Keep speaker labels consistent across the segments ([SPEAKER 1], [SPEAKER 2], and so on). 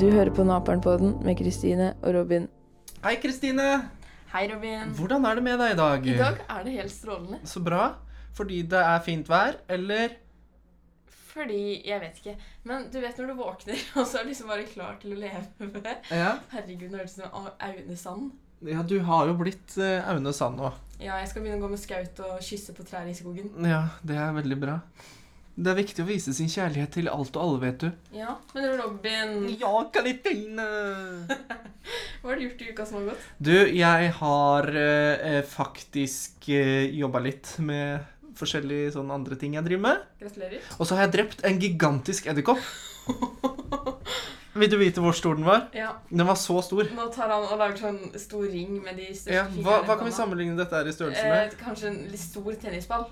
[SPEAKER 1] Du hører på Naperen-podden med Kristine og Robin.
[SPEAKER 2] Hei, Kristine!
[SPEAKER 1] Hei, Robin.
[SPEAKER 2] Hvordan er det med deg i dag?
[SPEAKER 1] I dag er det helt strålende.
[SPEAKER 2] Så bra. Fordi det er fint vær, eller
[SPEAKER 1] Fordi Jeg vet ikke. Men du vet når du våkner, og så er du liksom bare klar til å leve.
[SPEAKER 2] ja.
[SPEAKER 1] Herregud, nå høres det ut som Aune Sand.
[SPEAKER 2] ja, du har jo blitt eh, Aune Sand nå.
[SPEAKER 1] Ja, jeg skal begynne å gå med skaut og kysse på trær i skogen.
[SPEAKER 2] Ja, det er veldig bra. Det er viktig å vise sin kjærlighet til alt og alle, vet du.
[SPEAKER 1] Ja, Men Robin,
[SPEAKER 2] Ja, Kristine!
[SPEAKER 1] hva har du gjort i uka som har gått?
[SPEAKER 2] Du, jeg har eh, eh, faktisk eh, jobba litt med forskjellige sånne andre ting jeg driver med.
[SPEAKER 1] Gratulerer.
[SPEAKER 2] Og så har jeg drept en gigantisk edderkopp. Vil du vite hvor stor den var?
[SPEAKER 1] Ja,
[SPEAKER 2] Den var så stor.
[SPEAKER 1] Nå tar han og lager sånn stor ring med de største
[SPEAKER 2] Ja, hva,
[SPEAKER 1] fingrene
[SPEAKER 2] hva
[SPEAKER 1] på
[SPEAKER 2] kan vi
[SPEAKER 1] hånda.
[SPEAKER 2] sammenligne dette her i størrelse med?
[SPEAKER 1] Eh, kanskje en litt stor tennisball.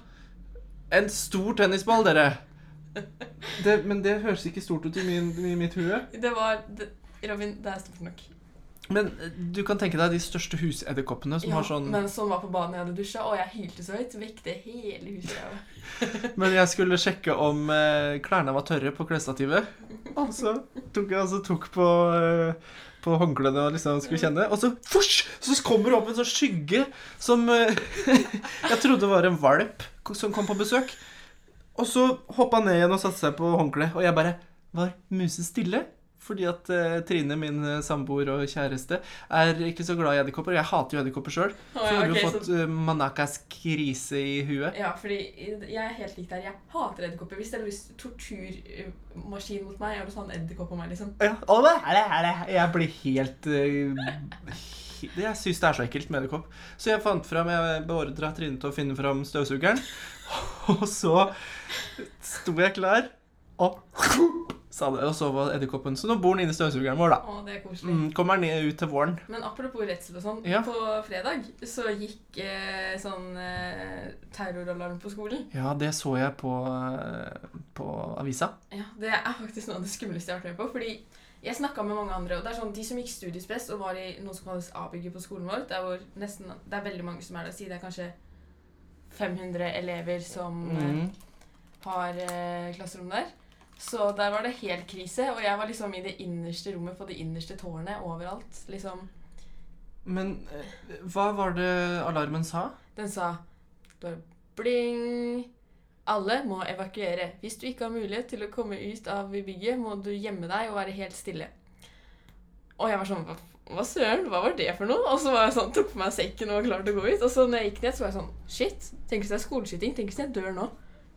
[SPEAKER 2] En stor tennisball, dere. Det, men det høres ikke stort ut i, min, i mitt hue.
[SPEAKER 1] Det var det, Robin, det er stort nok.
[SPEAKER 2] Men eh, du kan tenke deg de største husedderkoppene som
[SPEAKER 1] Ja,
[SPEAKER 2] har sånn men...
[SPEAKER 1] Men som var på badet når jeg hadde dusja, og jeg hylte så høyt. Vekte hele huset. jeg.
[SPEAKER 2] jeg skulle sjekke om eh, klærne var tørre på klesstativet. Og så tok jeg altså tok på, eh, på håndklærne og liksom skulle kjenne. Og så fosj! Så kommer det opp en sånn skygge som eh, jeg trodde var en valp som kom på besøk. Og så hoppa han ned igjen og satte seg på håndkleet, og jeg bare var musestille. Fordi at eh, Trine, min eh, samboer og kjæreste, er ikke så glad i edderkopper. og Jeg hater jo edderkopper sjøl.
[SPEAKER 1] Å, ja,
[SPEAKER 2] Så jeg hadde
[SPEAKER 1] ok,
[SPEAKER 2] jo fått
[SPEAKER 1] så-
[SPEAKER 2] eh, Manakas krise i huet.
[SPEAKER 1] Ja, fordi jeg er helt lik der. Jeg hater edderkopper. Hvis det er lyst torturmaskin mot meg, jeg vil ha en edderkopp på meg, liksom.
[SPEAKER 2] Ja, og det er det, er det. Jeg blir helt eh, he- Jeg syns det er så ekkelt med edderkopp. Så jeg fant fram, jeg beordra Trine til å finne fram støvsugeren. Og så sto jeg klar, og sa det. Og så var edderkoppen. Så nå bor den inni støvsugeren vår, da.
[SPEAKER 1] Å, det er koselig.
[SPEAKER 2] Mm, kommer ned ut til våren.
[SPEAKER 1] Men apropos redsel og sånn.
[SPEAKER 2] Ja.
[SPEAKER 1] På fredag så gikk eh, sånn eh, terroralarm på skolen.
[SPEAKER 2] Ja, det så jeg på, eh, på avisa.
[SPEAKER 1] Ja, Det er faktisk noe av det skumleste jeg har vært med på. Fordi jeg snakka med mange andre. og det er sånn, De som gikk studiespress og var i noe som kalles A-bygget på skolen vår der hvor nesten, Det er veldig mange som er der. Si det er kanskje 500 elever som eh,
[SPEAKER 2] Mm.
[SPEAKER 1] har eh, klasserom der. Så der var det helt krise. Og jeg var liksom i det innerste rommet på det innerste tårnet overalt. liksom.
[SPEAKER 2] Men eh, hva var det alarmen sa?
[SPEAKER 1] Den sa bare bling. Alle må evakuere. Hvis du ikke har mulighet til å komme ut av bygget, må du gjemme deg og være helt stille. Og jeg var sånn Hva, hva søren, hva var det for noe? Og så var jeg sånn, tok på meg sekken og var klar til å gå ut. Og så når jeg gikk ned, så var jeg sånn Shit. Tenk hvis det er skoleskyting. Tenk hvis jeg dør nå.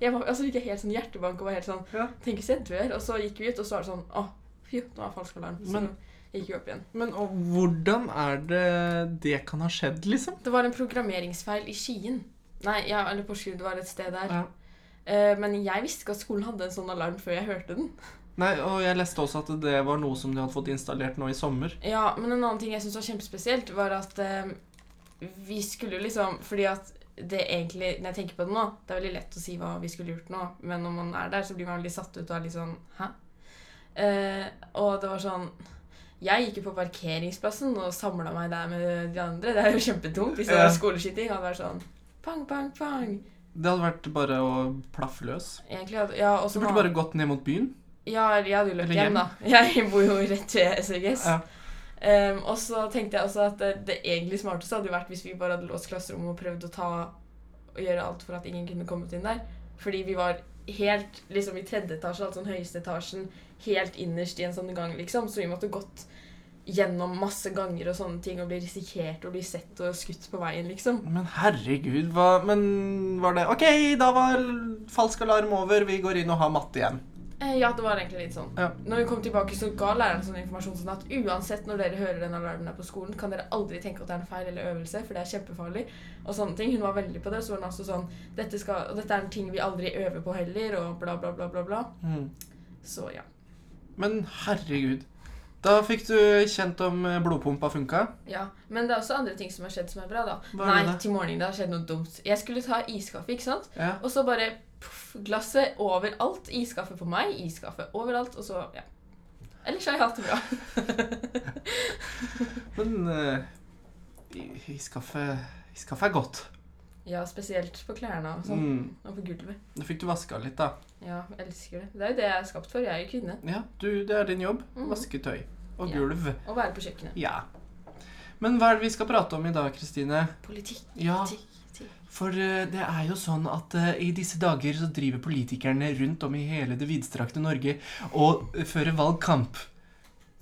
[SPEAKER 1] Jeg var, altså, fikk jeg helt sånn hjertebank og var helt sånn
[SPEAKER 2] Ja.
[SPEAKER 1] Tenk hvis jeg dør. Og så gikk vi ut, og så var det sånn Å, fy, nå er falsk alarm. Så
[SPEAKER 2] Men-
[SPEAKER 1] gikk vi opp igjen.
[SPEAKER 2] Men og, hvordan er det det kan ha skjedd, liksom?
[SPEAKER 1] Det var en programmeringsfeil i Skien. Nei, ja, eller Porsgrunn. Det var et sted der.
[SPEAKER 2] Ja.
[SPEAKER 1] Eh, Men jeg visste ikke at skolen hadde en sånn alarm før jeg hørte den.
[SPEAKER 2] Nei, og jeg leste også at det var noe som de hadde fått installert nå i sommer.
[SPEAKER 1] Ja, Men en annen ting jeg syntes var kjempespesielt, var at eh, vi skulle jo liksom Fordi at det egentlig Når jeg tenker på det nå, det er veldig lett å si hva vi skulle gjort nå, men når man er der, så blir man veldig satt ut og er litt sånn Hæ? Eh, og det var sånn Jeg gikk jo på parkeringsplassen og samla meg der med de andre. Det er jo kjempetungt. Hvis det
[SPEAKER 2] Ja.
[SPEAKER 1] var skoleskyting, hadde det vært sånn pang, pang, pang.
[SPEAKER 2] Det hadde vært bare å plaffe løs.
[SPEAKER 1] Egentlig hadde Ja, og så
[SPEAKER 2] Du burde bare gått ned mot byen.
[SPEAKER 1] Ja, jeg hadde jo løpt
[SPEAKER 2] Eller
[SPEAKER 1] hjem,
[SPEAKER 2] hjem.
[SPEAKER 1] da. Jeg bor jo rett ved SVGS.
[SPEAKER 2] Ja.
[SPEAKER 1] Um, og så tenkte jeg også at det, det egentlig smarteste hadde jo vært hvis vi bare hadde låst klasserommet og prøvd å ta og gjøre alt for at ingen kunne kommet inn der. Fordi vi var helt liksom i tredje etasje, altså den høyeste etasjen, helt innerst i en sånn gang, liksom. Så vi måtte gått gjennom masse ganger og sånne ting og bli risikert og bli sett og skutt på veien, liksom.
[SPEAKER 2] Men herregud, hva Men var det OK, da var falsk alarm over, vi går inn og har matte igjen.
[SPEAKER 1] Eh, ja, det var egentlig litt sånn.
[SPEAKER 2] Ja.
[SPEAKER 1] Når vi kom tilbake, så ga læreren sånn informasjon sånn at uansett når dere hører den alarmen her på skolen, kan dere aldri tenke at det er en feil eller øvelse, for det er kjempefarlig. Og sånne ting. Hun var veldig på det. Så var hun også sånn dette, skal, og dette er en ting vi aldri øver på heller, og bla, bla, bla, bla. bla.
[SPEAKER 2] Mm.
[SPEAKER 1] Så ja.
[SPEAKER 2] Men herregud. Da fikk du kjent om eh, blodpumpa funka.
[SPEAKER 1] ja. Men det er også andre ting som har skjedd som er bra, da.
[SPEAKER 2] Hva er
[SPEAKER 1] Nei,
[SPEAKER 2] det da?
[SPEAKER 1] til morgenen det har skjedd noe dumt. Jeg skulle ta iskaffe, ikke sant?
[SPEAKER 2] Ja.
[SPEAKER 1] Og så bare poff, glasset overalt. Iskaffe på meg, iskaffe overalt, og så ja. Ellers har jeg hatt det bra.
[SPEAKER 2] Men eh, i- iskaffe Iskaffe er godt.
[SPEAKER 1] Ja, spesielt på klærne og sånn.
[SPEAKER 2] Mm.
[SPEAKER 1] Og på gulvet.
[SPEAKER 2] Da fikk du vaska litt, da.
[SPEAKER 1] Ja, jeg elsker det. Det er jo det jeg er skapt for. Jeg er jo kvinne.
[SPEAKER 2] Ja, du, Det er din jobb.
[SPEAKER 1] Mhm.
[SPEAKER 2] Vaske tøy. og
[SPEAKER 1] Ja.
[SPEAKER 2] gulv.
[SPEAKER 1] Å være på kjøkkenet.
[SPEAKER 2] Ja. Men hva er det vi skal prate om i dag, Kristine?
[SPEAKER 1] Politikk.
[SPEAKER 2] Ja,
[SPEAKER 1] Tikk, tikk.
[SPEAKER 2] for eh, det er jo sånn at eh, i disse dager så driver politikerne rundt om i hele det vidstrakte Norge og eh, fører valgkamp.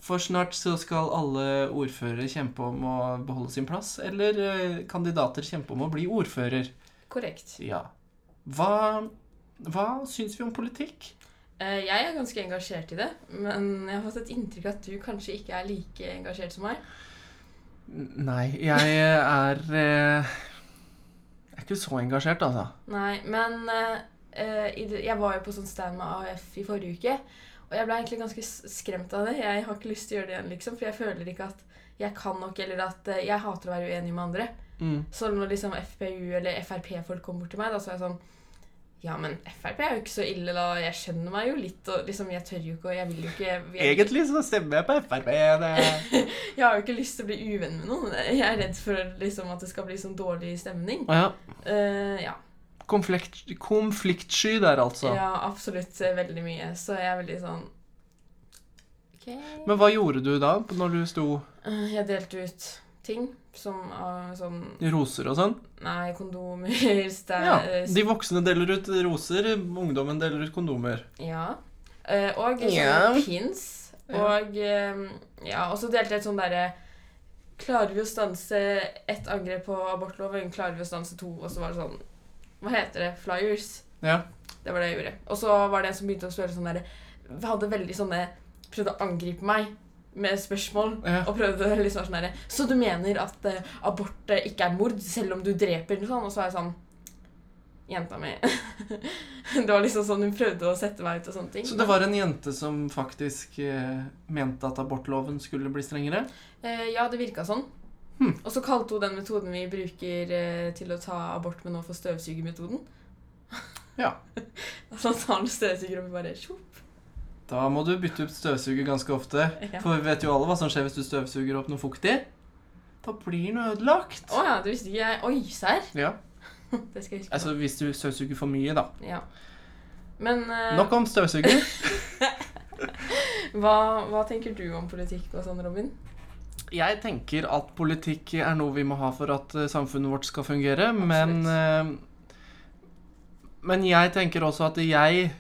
[SPEAKER 2] For snart så skal alle ordførere kjempe om å beholde sin plass, eller eh, kandidater kjempe om å bli ordfører.
[SPEAKER 1] Korrekt.
[SPEAKER 2] Ja. Hva, hva syns vi om politikk?
[SPEAKER 1] Eh, Jeg er ganske engasjert i det, men jeg har fått et inntrykk av at du kanskje ikke er like engasjert som meg.
[SPEAKER 2] N- Nei, jeg eh, er eh, Jeg er ikke så engasjert, altså.
[SPEAKER 1] Nei, men eh, eh, i det- jeg var jo på sånn stand med AUF i forrige uke, og jeg ble egentlig ganske s- skremt av det. Jeg har ikke lyst til å gjøre det igjen, liksom, for jeg føler ikke at jeg kan nok, eller at eh, jeg hater å være uenig med andre.
[SPEAKER 2] Mm.
[SPEAKER 1] Så når liksom FPU eller Frp-folk kom bort til meg, da så er jeg sånn ja, men Frp er jo ikke så ille, da. Jeg skjønner meg jo litt. Og liksom, jeg tør jo ikke, og jeg vil jo ikke jeg,
[SPEAKER 2] Egentlig så stemmer jeg på Frp. Det...
[SPEAKER 1] Jeg har jo ikke lyst til å bli uvenn med noen. Jeg er redd for liksom, at det skal bli sånn dårlig stemning.
[SPEAKER 2] Ja,
[SPEAKER 1] Eh, ja.
[SPEAKER 2] konflikt, konfliktsky der, altså.
[SPEAKER 1] ja, absolutt eh, veldig mye. Så jeg er veldig sånn Ok.
[SPEAKER 2] Men hva gjorde du da, når du sto
[SPEAKER 1] Eh, jeg delte ut ting som ah, sånn
[SPEAKER 2] i roser og sånn?
[SPEAKER 1] Nei, kondomer, stæ...
[SPEAKER 2] Ja,
[SPEAKER 1] eh,
[SPEAKER 2] De voksne deler ut roser, ungdommen deler ut kondomer.
[SPEAKER 1] Ja. Eh, og sånne
[SPEAKER 2] Ja.
[SPEAKER 1] pins.
[SPEAKER 2] Ja.
[SPEAKER 1] Og eh, ja, og så delte jeg et sånn derre Klarer vi å stanse ett angrep på abortloven? Klarer vi å stanse to? Og så var det sånn Hva heter det? Flyers?
[SPEAKER 2] Ja.
[SPEAKER 1] Det var det jeg gjorde. Og så var det en som begynte å spørre sånn derre Hadde veldig sånne Prøvde å angripe meg med spørsmål.
[SPEAKER 2] Ja.
[SPEAKER 1] Og prøvde liksom sånn derre Så du mener at eh, abort eh, ikke er mord, selv om du dreper? Sånn, og så var jeg sånn Jenta mi. det var liksom sånn hun prøvde å sette meg ut og sånne ting.
[SPEAKER 2] Så det var en jente som faktisk eh, mente at abortloven skulle bli strengere?
[SPEAKER 1] Eh, ja, det virka sånn.
[SPEAKER 2] Hmm.
[SPEAKER 1] Og så kalte hun den metoden vi bruker eh, til å ta abort med nå, for støvsugermetoden.
[SPEAKER 2] Ja.
[SPEAKER 1] Så tar han støvsuger og bare tjopp.
[SPEAKER 2] Da må du bytte ut støvsuger ganske ofte.
[SPEAKER 1] Ja.
[SPEAKER 2] For vi vet jo alle hva som skjer hvis du støvsuger opp noe fuktig. Da blir den ødelagt.
[SPEAKER 1] Å ja, det visste ikke jeg. Oi, serr?
[SPEAKER 2] Ja,
[SPEAKER 1] Det skal jeg huske.
[SPEAKER 2] altså hvis du støvsuger for mye, da.
[SPEAKER 1] Ja. Men eh,
[SPEAKER 2] Nok om støvsuger.
[SPEAKER 1] hva, hva tenker du om politikk og sånn, Robin?
[SPEAKER 2] Jeg tenker at politikk er noe vi må ha for at eh, samfunnet vårt skal fungere, men eh, Men jeg tenker også at jeg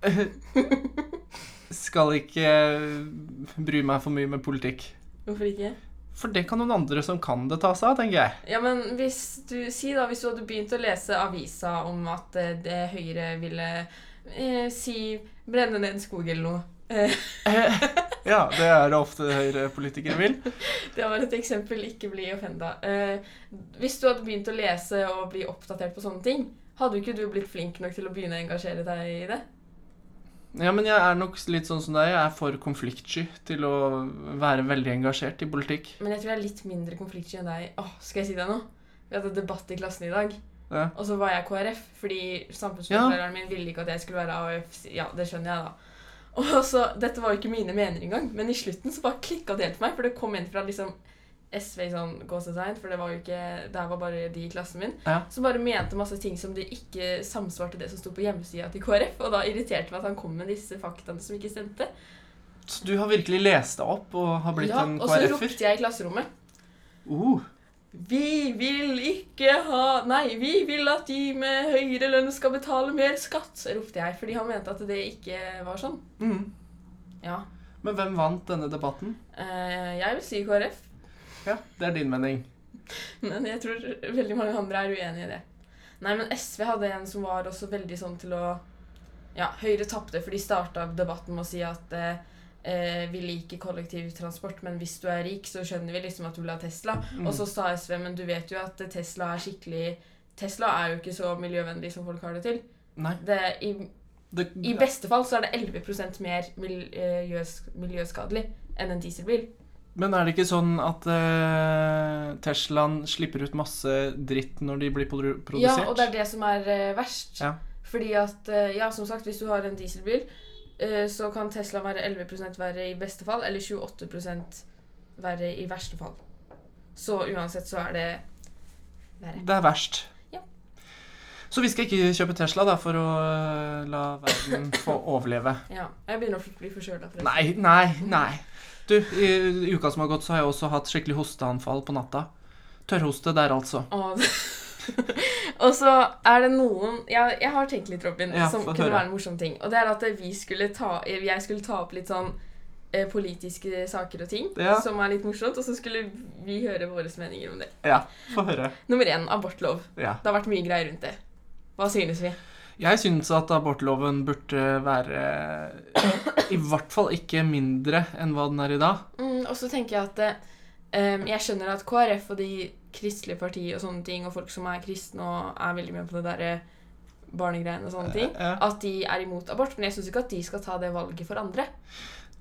[SPEAKER 2] skal ikke eh, bry meg for mye med politikk.
[SPEAKER 1] Hvorfor ikke?
[SPEAKER 2] For det kan noen andre som kan det, ta seg av, tenker jeg.
[SPEAKER 1] Ja, men hvis du, si da, hvis du hadde begynt å lese avisa om at eh, det Høyre ville eh, si brenne ned en skog eller noe.
[SPEAKER 2] Ja, det er det ofte høyrepolitikere vil.
[SPEAKER 1] Det var et eksempel. Ikke bli offenda. Eh, hvis du hadde begynt å lese og bli oppdatert på sånne ting, hadde ikke du blitt flink nok til å begynne å engasjere deg i det?
[SPEAKER 2] Ja, men jeg er nok litt sånn som deg. Jeg er for konfliktsky til å være veldig engasjert i politikk.
[SPEAKER 1] Men jeg tror jeg er litt mindre konfliktsky enn deg. Åh, skal jeg si deg noe? Vi hadde debatt i klassen i dag,
[SPEAKER 2] Ja.
[SPEAKER 1] og så var jeg KrF. Fordi samfunnsforskjelleren min ville ikke at jeg skulle være AUF. Ja, det skjønner jeg, da. Og så, Dette var jo ikke mine meninger engang, men i slutten så bare klikka det helt for meg. For det kom en fra liksom SV i sånn gåsetegn, for det var jo ikke, det her var bare de i klassen min.
[SPEAKER 2] Ja.
[SPEAKER 1] Som bare mente masse ting som det ikke samsvarte det som sto på hjemmesida til KrF. Og da irriterte det meg at han kom med disse faktaene som ikke stemte.
[SPEAKER 2] Så du har virkelig lest deg opp og har blitt
[SPEAKER 1] Ja,
[SPEAKER 2] en
[SPEAKER 1] og så
[SPEAKER 2] KrF-er?
[SPEAKER 1] ropte jeg i klasserommet.
[SPEAKER 2] Uh.
[SPEAKER 1] Vi vil ikke ha Nei, vi vil at de med høyere lønn skal betale mer skatt, ropte jeg, fordi han mente at det ikke var sånn.
[SPEAKER 2] Mm.
[SPEAKER 1] Ja.
[SPEAKER 2] Men hvem vant denne debatten?
[SPEAKER 1] Eh, jeg vil si KrF,
[SPEAKER 2] Ja, Det er din mening.
[SPEAKER 1] men jeg tror veldig mange andre er uenig i det. Nei, men SV hadde en som var også veldig sånn til å Ja, Høyre tapte, for de starta debatten med å si at eh, eh, vi liker kollektivtransport, men hvis du er rik, så skjønner vi liksom at du vil ha Tesla. Og så sa SV, men du vet jo at Tesla er skikkelig Tesla er jo ikke så miljøvennlig som folk har det til.
[SPEAKER 2] Nei.
[SPEAKER 1] det, i,
[SPEAKER 2] Det,
[SPEAKER 1] I beste fall så er det 11 mer miljøs, miljøskadelig enn en dieselbil.
[SPEAKER 2] men er det ikke sånn at eh, Teslaen slipper ut masse dritt når de blir produ
[SPEAKER 1] Ja,
[SPEAKER 2] produsert?
[SPEAKER 1] og det er det som er eh, verst.
[SPEAKER 2] Ja.
[SPEAKER 1] Fordi at, eh, ja, som sagt, hvis du har en dieselbil, eh, så kan Tesla være 11 verre i beste fall, eller 28 verre i verste fall. Så uansett så er det verre.
[SPEAKER 2] Det er verst.
[SPEAKER 1] Ja.
[SPEAKER 2] Så vi skal ikke kjøpe Tesla da, for å eh, la verden få overleve.
[SPEAKER 1] Ja. Jeg begynner å bli forkjøla. forresten.
[SPEAKER 2] Nei, nei, nei. Du, i, i uka som har gått, så har jeg også hatt skikkelig hosteanfall på natta. Tørrhoste der, altså.
[SPEAKER 1] Og, og så er det noen Jeg, jeg har tenkt litt, Robin,
[SPEAKER 2] Ja,
[SPEAKER 1] som
[SPEAKER 2] få
[SPEAKER 1] kunne
[SPEAKER 2] høre.
[SPEAKER 1] være en morsom ting. Og det er at vi skulle ta, jeg skulle ta opp litt sånn eh, politiske saker og ting
[SPEAKER 2] Ja.
[SPEAKER 1] som er litt morsomt, og så skulle vi høre våre meninger om det.
[SPEAKER 2] Ja, få høre.
[SPEAKER 1] Nummer én abortlov.
[SPEAKER 2] Ja.
[SPEAKER 1] Det har vært mye greier rundt det. Hva synes vi?
[SPEAKER 2] Jeg syns at abortloven burde være i hvert fall ikke mindre enn hva den er i dag.
[SPEAKER 1] Mm, og så tenker jeg at eh, em, jeg skjønner at KrF og de kristelige partier og sånne ting, og folk som er kristne og er veldig med på det derre barnegreiene og sånne ting,
[SPEAKER 2] Ja.
[SPEAKER 1] at de er imot abort. Men jeg syns ikke at de skal ta det valget for andre.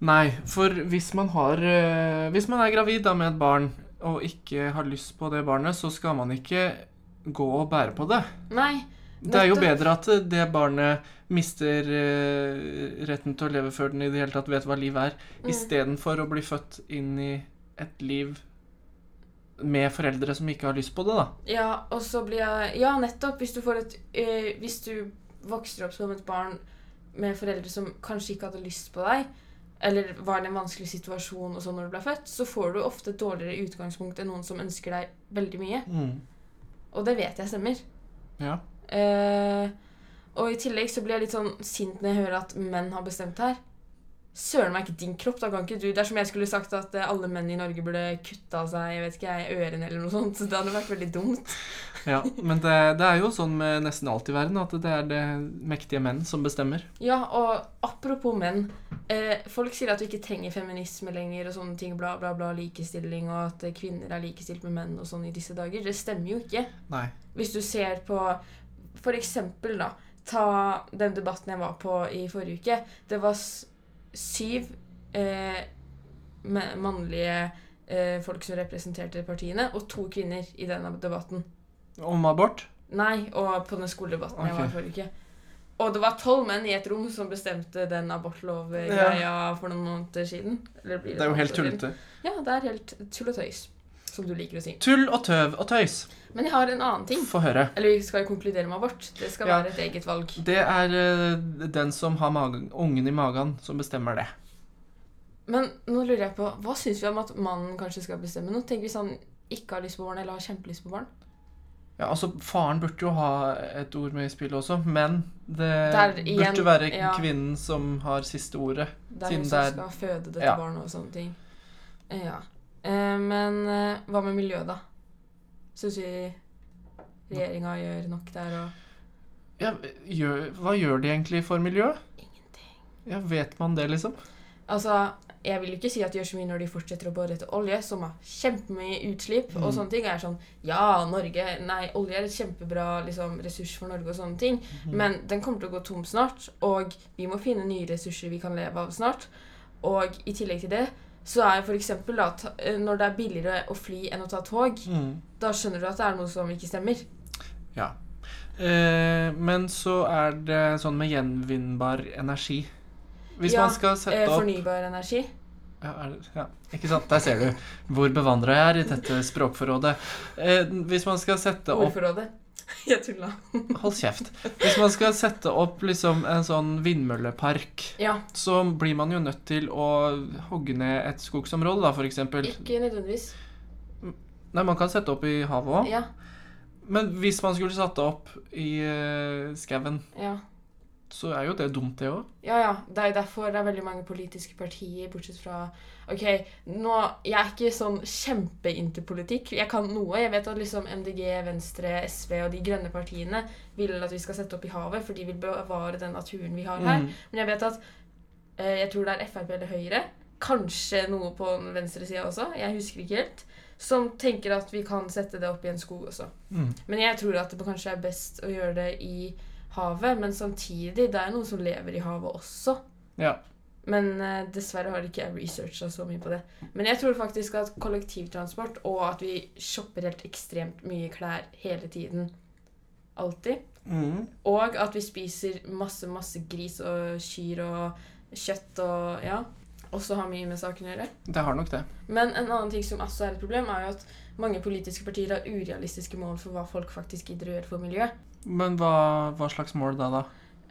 [SPEAKER 2] Nei, for hvis man har eh, Hvis man er gravid da med et barn og ikke har lyst på det barnet, så skal man ikke gå og bære på det.
[SPEAKER 1] Nei. Mm.
[SPEAKER 2] Det er jo
[SPEAKER 1] nettopp.
[SPEAKER 2] bedre at det barnet mister eh, retten til å leve før den i det hele tatt vet hva liv er,
[SPEAKER 1] Mm.
[SPEAKER 2] istedenfor å bli født inn i et liv med foreldre som ikke har lyst på det, da.
[SPEAKER 1] Ja, og så blir jeg Ja, nettopp. Hvis du får et eh, Hvis du vokser opp som et barn med foreldre som kanskje ikke hadde lyst på deg, eller var i en vanskelig situasjon og sånn når du ble født, så får du ofte et dårligere utgangspunkt enn noen som ønsker deg veldig mye. Og det vet jeg stemmer.
[SPEAKER 2] Mm. Ja.
[SPEAKER 1] Eh, og i tillegg så blir jeg litt sånn sint når jeg hører at menn har bestemt det her. Søren meg ikke din kropp, da kan ikke du Det er som jeg skulle sagt at eh, alle menn i Norge burde kutta av seg jeg vet ikke jeg, ørene eller noe sånt. Det hadde vært veldig dumt.
[SPEAKER 2] ja. Men det, det er jo sånn med nesten alt i verden, at det er det mektige menn som bestemmer.
[SPEAKER 1] Ja, og apropos menn. Eh, folk sier at vi ikke trenger feminisme lenger og sånne ting, bla, bla, bla, likestilling, og at eh, kvinner er likestilt med menn og sånn i disse dager. Det stemmer jo ikke.
[SPEAKER 2] Nei.
[SPEAKER 1] Hvis du ser på For eksempel, da. Ta den debatten jeg var på i forrige uke. Det var s- syv eh, me- mannlige eh, folk som representerte partiene, og to kvinner i den debatten.
[SPEAKER 2] Om abort?
[SPEAKER 1] Nei, og på den skoledebatten jeg var i
[SPEAKER 2] Ok.
[SPEAKER 1] forrige uke. Og det var tolv menn i et rom som bestemte den abortlovgreia for noen måneder siden. Eller blir
[SPEAKER 2] Det er jo
[SPEAKER 1] noen
[SPEAKER 2] helt
[SPEAKER 1] måneder siden?
[SPEAKER 2] tullete.
[SPEAKER 1] Ja, det er helt tull og tøys, som du liker å si.
[SPEAKER 2] Tull og tøv og tøys.
[SPEAKER 1] Men jeg har en annen ting.
[SPEAKER 2] Få høre.
[SPEAKER 1] Eller vi skal jo konkludere med abort. Det skal
[SPEAKER 2] Ja.
[SPEAKER 1] være et eget valg.
[SPEAKER 2] Det er eh, den som har magen, ungen i magen, som bestemmer det.
[SPEAKER 1] Men nå lurer jeg på, hva syns vi om at mannen kanskje skal bestemme noe? Tenk hvis han sånn, ikke har lyst på barn, eller har kjempelyst på barn.
[SPEAKER 2] Ja, altså, Faren burde jo ha et ord med i spillet også, men det
[SPEAKER 1] Der igjen,
[SPEAKER 2] burde være
[SPEAKER 1] ja.
[SPEAKER 2] kvinnen som har siste ordet.
[SPEAKER 1] Det er hun
[SPEAKER 2] Siden det
[SPEAKER 1] som
[SPEAKER 2] er-
[SPEAKER 1] skal føde dette
[SPEAKER 2] Ja.
[SPEAKER 1] barnet og sånne ting. Eh, Ja. Eh, Men eh, hva med miljøet, da? Syns vi regjeringa gjør nok der og
[SPEAKER 2] Ja, gjør, hva gjør de egentlig for miljø?
[SPEAKER 1] Ingenting.
[SPEAKER 2] Ja, Vet man det, liksom?
[SPEAKER 1] Altså, jeg vil jo ikke si at de gjør så mye når de fortsetter å bore etter olje, som har kjempemye utslipp og
[SPEAKER 2] Mm.
[SPEAKER 1] sånne ting. Og jeg er sånn Ja, Norge Nei, olje er et kjempebra liksom, ressurs for Norge og sånne ting.
[SPEAKER 2] Mhm.
[SPEAKER 1] Men den kommer til å gå tom snart, og vi må finne nye ressurser vi kan leve av snart. Og i tillegg til det så er for eksempel da, ta- eh, når det er billigere å fly enn å ta tog,
[SPEAKER 2] Mm.
[SPEAKER 1] da skjønner du at det er noe som ikke stemmer.
[SPEAKER 2] Ja. Eh, men så er det sånn med gjenvinnbar energi. Hvis
[SPEAKER 1] Ja,
[SPEAKER 2] man skal sette
[SPEAKER 1] Eh,
[SPEAKER 2] opp
[SPEAKER 1] fornybar energi.
[SPEAKER 2] Ja, er, det- ja, ikke sant? Der ser du hvor bevandra jeg er i dette språkforrådet. Eh, hvis man skal sette opp
[SPEAKER 1] Ordforrådet. Jeg tulla.
[SPEAKER 2] Hold kjeft. Hvis man skal sette opp liksom en sånn vindmøllepark,
[SPEAKER 1] Ja,
[SPEAKER 2] så blir man jo nødt til å hogge ned et skogsområde, da, for eksempel.
[SPEAKER 1] ikke nødvendigvis.
[SPEAKER 2] Nei, man kan sette opp i havet òg.
[SPEAKER 1] Ja,
[SPEAKER 2] Men hvis man skulle satt det opp i uh, skauen,
[SPEAKER 1] ja.
[SPEAKER 2] så er jo det dumt, det òg.
[SPEAKER 1] Ja, ja. Det er jo derfor det er veldig mange politiske partier, bortsett fra Ok, nå Jeg er ikke sånn kjempeinntil politikk. Jeg kan noe. Jeg vet at liksom MDG, Venstre, SV og de grønne partiene vil at vi skal sette opp i havet, for de vil bevare den naturen vi har her.
[SPEAKER 2] Mm.
[SPEAKER 1] Men jeg vet at eh, Jeg tror det er Frp eller Høyre, kanskje noe på den venstre sida også, jeg husker ikke helt, som tenker at vi kan sette det opp i en skog også.
[SPEAKER 2] Mm.
[SPEAKER 1] Men jeg tror at det kanskje er best å gjøre det i havet, men samtidig, det er noen som lever i havet også.
[SPEAKER 2] Ja.
[SPEAKER 1] Men eh, dessverre har ikke jeg researcha så mye på det. Men jeg tror faktisk at kollektivtransport og at vi shopper helt ekstremt mye klær hele tiden, alltid,
[SPEAKER 2] Mm.
[SPEAKER 1] og at vi spiser masse, masse gris og kyr og kjøtt og ja, også har mye med saken å gjøre.
[SPEAKER 2] Det har nok det.
[SPEAKER 1] Men en annen ting som også er et problem, er jo at mange politiske partier har urealistiske mål for hva folk faktisk gidder å gjøre for miljøet.
[SPEAKER 2] Men hva, hva slags mål da, da?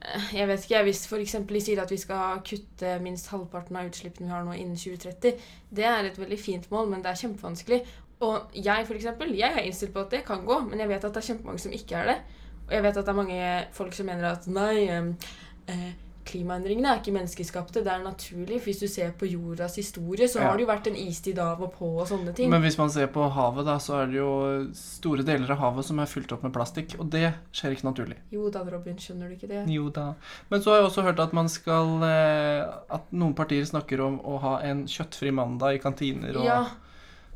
[SPEAKER 1] Eh, Jeg vet ikke, jeg, Hvis for eksempel de sier at vi skal kutte minst halvparten av utslippene vi har nå innen 2030, det er et veldig fint mål, men det er kjempevanskelig. Og jeg for eksempel, jeg er innstilt på at det kan gå, men jeg vet at det er kjempemange som ikke er det. Og jeg vet at det er mange folk som mener at nei, em, eh, klimaendringene er ikke menneskeskapte, det er naturlig. For hvis du ser på jordas historie, så
[SPEAKER 2] Ja.
[SPEAKER 1] har det jo vært en istid av og på og sånne ting.
[SPEAKER 2] Men hvis man ser på havet, da, så er det jo store deler av havet som er fylt opp med plastikk. Og det skjer ikke naturlig.
[SPEAKER 1] Jo da, Robin, skjønner du ikke det?
[SPEAKER 2] Jo da. Men så har jeg også hørt at man skal eh, At noen partier snakker om å ha en kjøttfri mandag i kantiner og
[SPEAKER 1] Ja,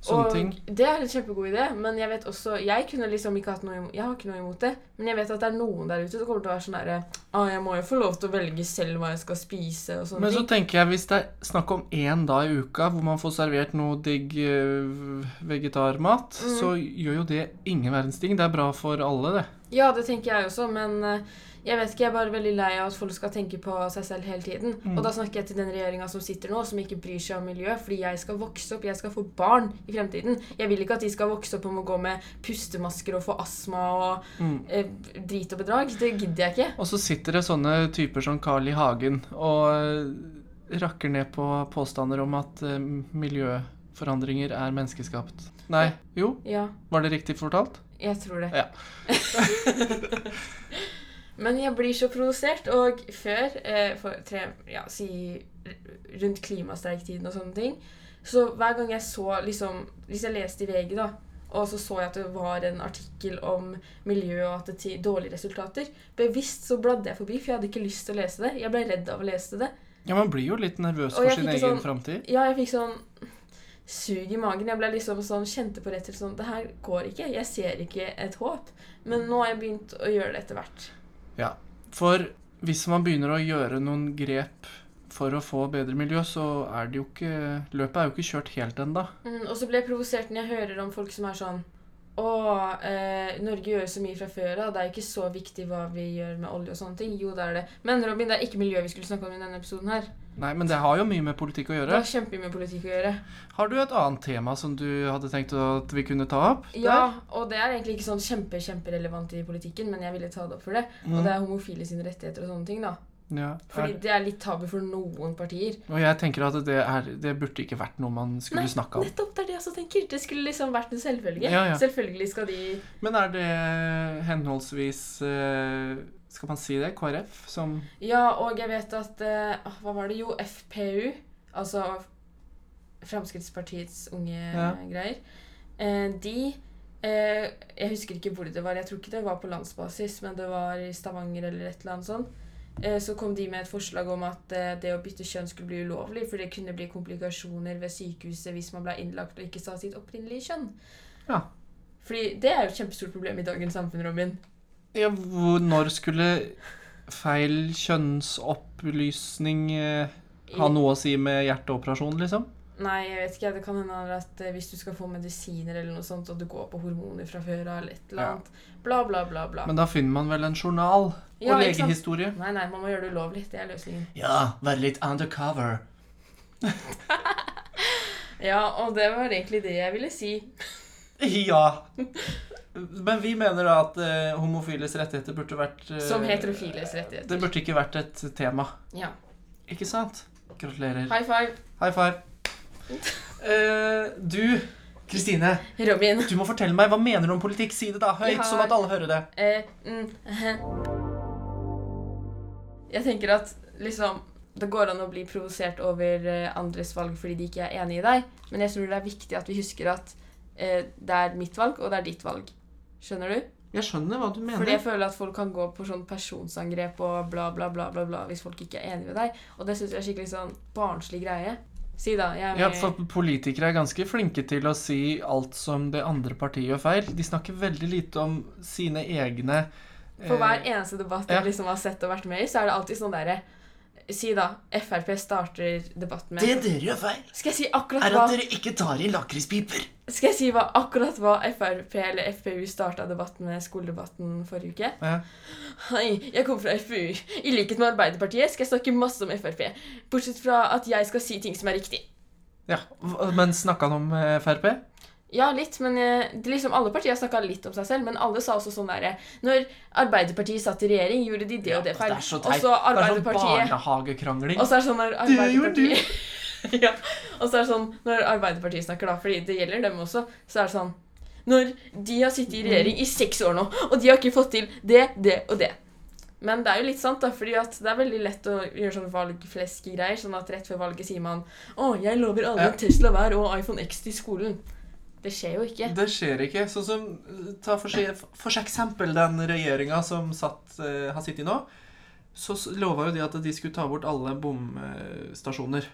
[SPEAKER 2] sånne ting.
[SPEAKER 1] Det er en kjempegod idé, men jeg vet også Jeg kunne liksom ikke hatt noe imot, jeg har ikke noe imot det, men jeg vet at det er noen der ute som kommer til å være sånn herre ah, Jeg må jo få lov til å velge selv hva jeg skal spise og sånne
[SPEAKER 2] Men så
[SPEAKER 1] ting.
[SPEAKER 2] tenker jeg, hvis det er snakk om én dag i uka hvor man får servert noe digg eh, vegetarmat,
[SPEAKER 1] Mm.
[SPEAKER 2] så gjør jo det ingen verdens ting. Det er bra for alle, det.
[SPEAKER 1] Ja, det tenker jeg også, men eh, jeg vet ikke, jeg er bare veldig lei av at folk skal tenke på seg selv hele tiden.
[SPEAKER 2] Mm.
[SPEAKER 1] Og da snakker jeg til den regjeringa som sitter nå, som ikke bryr seg om miljø, fordi jeg skal vokse opp, jeg skal få barn i fremtiden. Jeg vil ikke at de skal vokse opp og må gå med pustemasker og få astma og
[SPEAKER 2] Mm.
[SPEAKER 1] eh, drit og bedrag. Det gidder jeg ikke.
[SPEAKER 2] Og så sitter det sånne typer som Carl I. Hagen og eh, rakker ned på påstander om at eh, miljøforandringer er menneskeskapt. Nei, jo,
[SPEAKER 1] Ja.
[SPEAKER 2] var det riktig fortalt?
[SPEAKER 1] Jeg tror det.
[SPEAKER 2] Ja.
[SPEAKER 1] Men jeg blir så provosert, og før, eh, for tre, ja, si r- rundt klimastreiktiden og sånne ting, så hver gang jeg så liksom Hvis jeg leste i VG, da, og så så jeg at det var en artikkel om miljø og at det til dårlige resultater, bevisst så bladde jeg forbi, for jeg hadde ikke lyst til å lese det. Jeg ble redd av å lese det.
[SPEAKER 2] Ja, man blir jo litt nervøs
[SPEAKER 1] Og
[SPEAKER 2] for
[SPEAKER 1] jeg
[SPEAKER 2] sin
[SPEAKER 1] fikk
[SPEAKER 2] egen
[SPEAKER 1] jo sånn-
[SPEAKER 2] framtid.
[SPEAKER 1] Ja, jeg fikk sånn sug i magen. Jeg ble liksom sånn, kjente på rett til sånn Det her går ikke. Jeg ser ikke et håp. Men nå har jeg begynt å gjøre det etter hvert.
[SPEAKER 2] For hvis man begynner å gjøre noen grep for å få bedre miljø, så er det jo ikke Løpet er jo ikke kjørt helt ennå.
[SPEAKER 1] Mm, og så blir jeg provosert når jeg hører om folk som er sånn Å, eh, Norge gjør så mye fra før av. Det er ikke så viktig hva vi gjør med olje og sånne ting. Jo, det er det. Men Robin, det er ikke miljø vi skulle snakke om i denne episoden her.
[SPEAKER 2] Nei, men det har jo mye med politikk å
[SPEAKER 1] Det
[SPEAKER 2] gjøre.
[SPEAKER 1] har kjempemye med politikk å gjøre.
[SPEAKER 2] Har du et annet tema som du hadde tenkt at vi kunne ta opp?
[SPEAKER 1] Ja, og det er egentlig ikke sånn kjempe, kjemperelevant i politikken, men jeg ville ta det opp for det. Og det er homofile sine rettigheter og sånne ting, da.
[SPEAKER 2] Ja.
[SPEAKER 1] Fordi det er litt tabu for noen partier.
[SPEAKER 2] Og jeg tenker at det, er, det burde ikke vært noe man skulle
[SPEAKER 1] Nei,
[SPEAKER 2] snakke om.
[SPEAKER 1] Nettopp, det er det jeg også tenker. Det skulle liksom vært en selvfølge.
[SPEAKER 2] Ja, ja.
[SPEAKER 1] Selvfølgelig skal de
[SPEAKER 2] Men er det henholdsvis eh, Skal man si det? KrF som
[SPEAKER 1] Ja, og jeg vet at eh, ah, Hva var det? Jo, FPU. Altså Fremskrittspartiets unge
[SPEAKER 2] Ja.
[SPEAKER 1] greier. Eh, de eh, Jeg husker ikke hvor det var. Jeg tror ikke det var på landsbasis, men det var i Stavanger eller et eller annet sånt. Eh, Så kom de med et forslag om at eh, det å bytte kjønn skulle bli ulovlig, for det kunne bli komplikasjoner ved sykehuset hvis man ble innlagt og ikke sa sitt opprinnelige kjønn.
[SPEAKER 2] Ja.
[SPEAKER 1] Fordi det er jo et kjempestort problem i dagens samfunn, Robin.
[SPEAKER 2] ja, hvor, Når skulle feil kjønnsopplysning eh,
[SPEAKER 1] I-
[SPEAKER 2] ha noe å si med hjerteoperasjon, liksom?
[SPEAKER 1] Nei, jeg vet ikke. Det kan hende at eh, hvis du skal få medisiner eller noe sånt, og du går på hormoner fra før av eller et eller
[SPEAKER 2] Ja.
[SPEAKER 1] annet Bla, bla, bla, bla.
[SPEAKER 2] Men da finner man vel en journal og
[SPEAKER 1] Ja, ikke sant?
[SPEAKER 2] legehistorie?
[SPEAKER 1] Nei, nei, man må gjøre det ulovlig. Det er løsningen.
[SPEAKER 2] Ja, være litt undercover.
[SPEAKER 1] Ja, og det var egentlig det jeg ville si.
[SPEAKER 2] Ja. Men vi mener da at eh, homofiles rettigheter burde vært eh,
[SPEAKER 1] Som heterofiles rettigheter.
[SPEAKER 2] Det burde ikke vært et tema.
[SPEAKER 1] Ja.
[SPEAKER 2] Ikke sant? Gratulerer.
[SPEAKER 1] High five,
[SPEAKER 2] High five. Eh, du, Kristine,
[SPEAKER 1] Robin.
[SPEAKER 2] du må fortelle meg hva mener du om politikk. Si det da høyt,
[SPEAKER 1] Ja.
[SPEAKER 2] sånn at alle hører det.
[SPEAKER 1] Eh, mm. Jeg tenker at liksom det går an å bli provosert over eh, andres valg fordi de ikke er enig i deg, men jeg tror det er viktig at vi husker at eh, det er mitt valg, og det er ditt valg. Skjønner du?
[SPEAKER 2] Jeg skjønner hva du mener.
[SPEAKER 1] Fordi jeg føler at folk kan gå på sånn personsangrep og bla, bla, bla, bla, bla hvis folk ikke er enig med deg. Og det syns jeg er skikkelig sånn barnslig greie. Si da. Jeg er
[SPEAKER 2] Ja,
[SPEAKER 1] med.
[SPEAKER 2] for Politikere er ganske flinke til å si alt som det andre partiet gjør feil. De snakker veldig lite om sine egne eh,
[SPEAKER 1] For hver eneste debatt
[SPEAKER 2] ja.
[SPEAKER 1] jeg liksom har sett og vært med i, så er det alltid sånn derre Si da. Frp starter debatten med
[SPEAKER 3] Det dere gjør feil,
[SPEAKER 1] Skal jeg si akkurat
[SPEAKER 3] er
[SPEAKER 1] hva
[SPEAKER 3] at dere ikke tar i lakrispiper.
[SPEAKER 1] Skal jeg si hva, akkurat hva Frp eller FpU starta debatten med skoledebatten forrige uke?
[SPEAKER 2] Ja.
[SPEAKER 1] Hei, jeg kommer fra FpU. I likhet med Arbeiderpartiet skal jeg snakke masse om Frp. Bortsett fra at jeg skal si ting som er riktig.
[SPEAKER 2] Ja, hva- Men snakka han om eh, Frp?
[SPEAKER 1] Ja, litt, men eh, det, er liksom alle partier snakka litt om seg selv, men alle sa også sånn derre Når Arbeiderpartiet satt i regjering, gjorde de det og det feil.
[SPEAKER 3] altså, det er så teit.
[SPEAKER 1] og så
[SPEAKER 2] Det er sånn
[SPEAKER 1] Arbeiderpartiet
[SPEAKER 2] barnehagekrangling.
[SPEAKER 1] Og så er det sånn når
[SPEAKER 2] Det gjorde du.
[SPEAKER 1] Arbeiderpartiet Ja. Og så er det sånn når Arbeiderpartiet snakker, da, fordi det gjelder dem også, så er det sånn Når de har sittet
[SPEAKER 2] Mm.
[SPEAKER 1] i regjering i seks år nå, og de har ikke fått til det, det og det. Men det er jo litt sant, da, fordi at det er veldig lett å gjøre sånne valgfleskegreier. Sånn at rett før valget sier man 'Å, jeg lover alle
[SPEAKER 2] Ja.
[SPEAKER 1] en Tesla hver og iPhone X til skolen'. Det skjer jo ikke.
[SPEAKER 2] Det skjer ikke. Sånn som Ta for, se- for eksempel den regjeringa som satt, eh, har sittet i nå. Så s- lova jo de at de skulle ta bort alle bomstasjoner.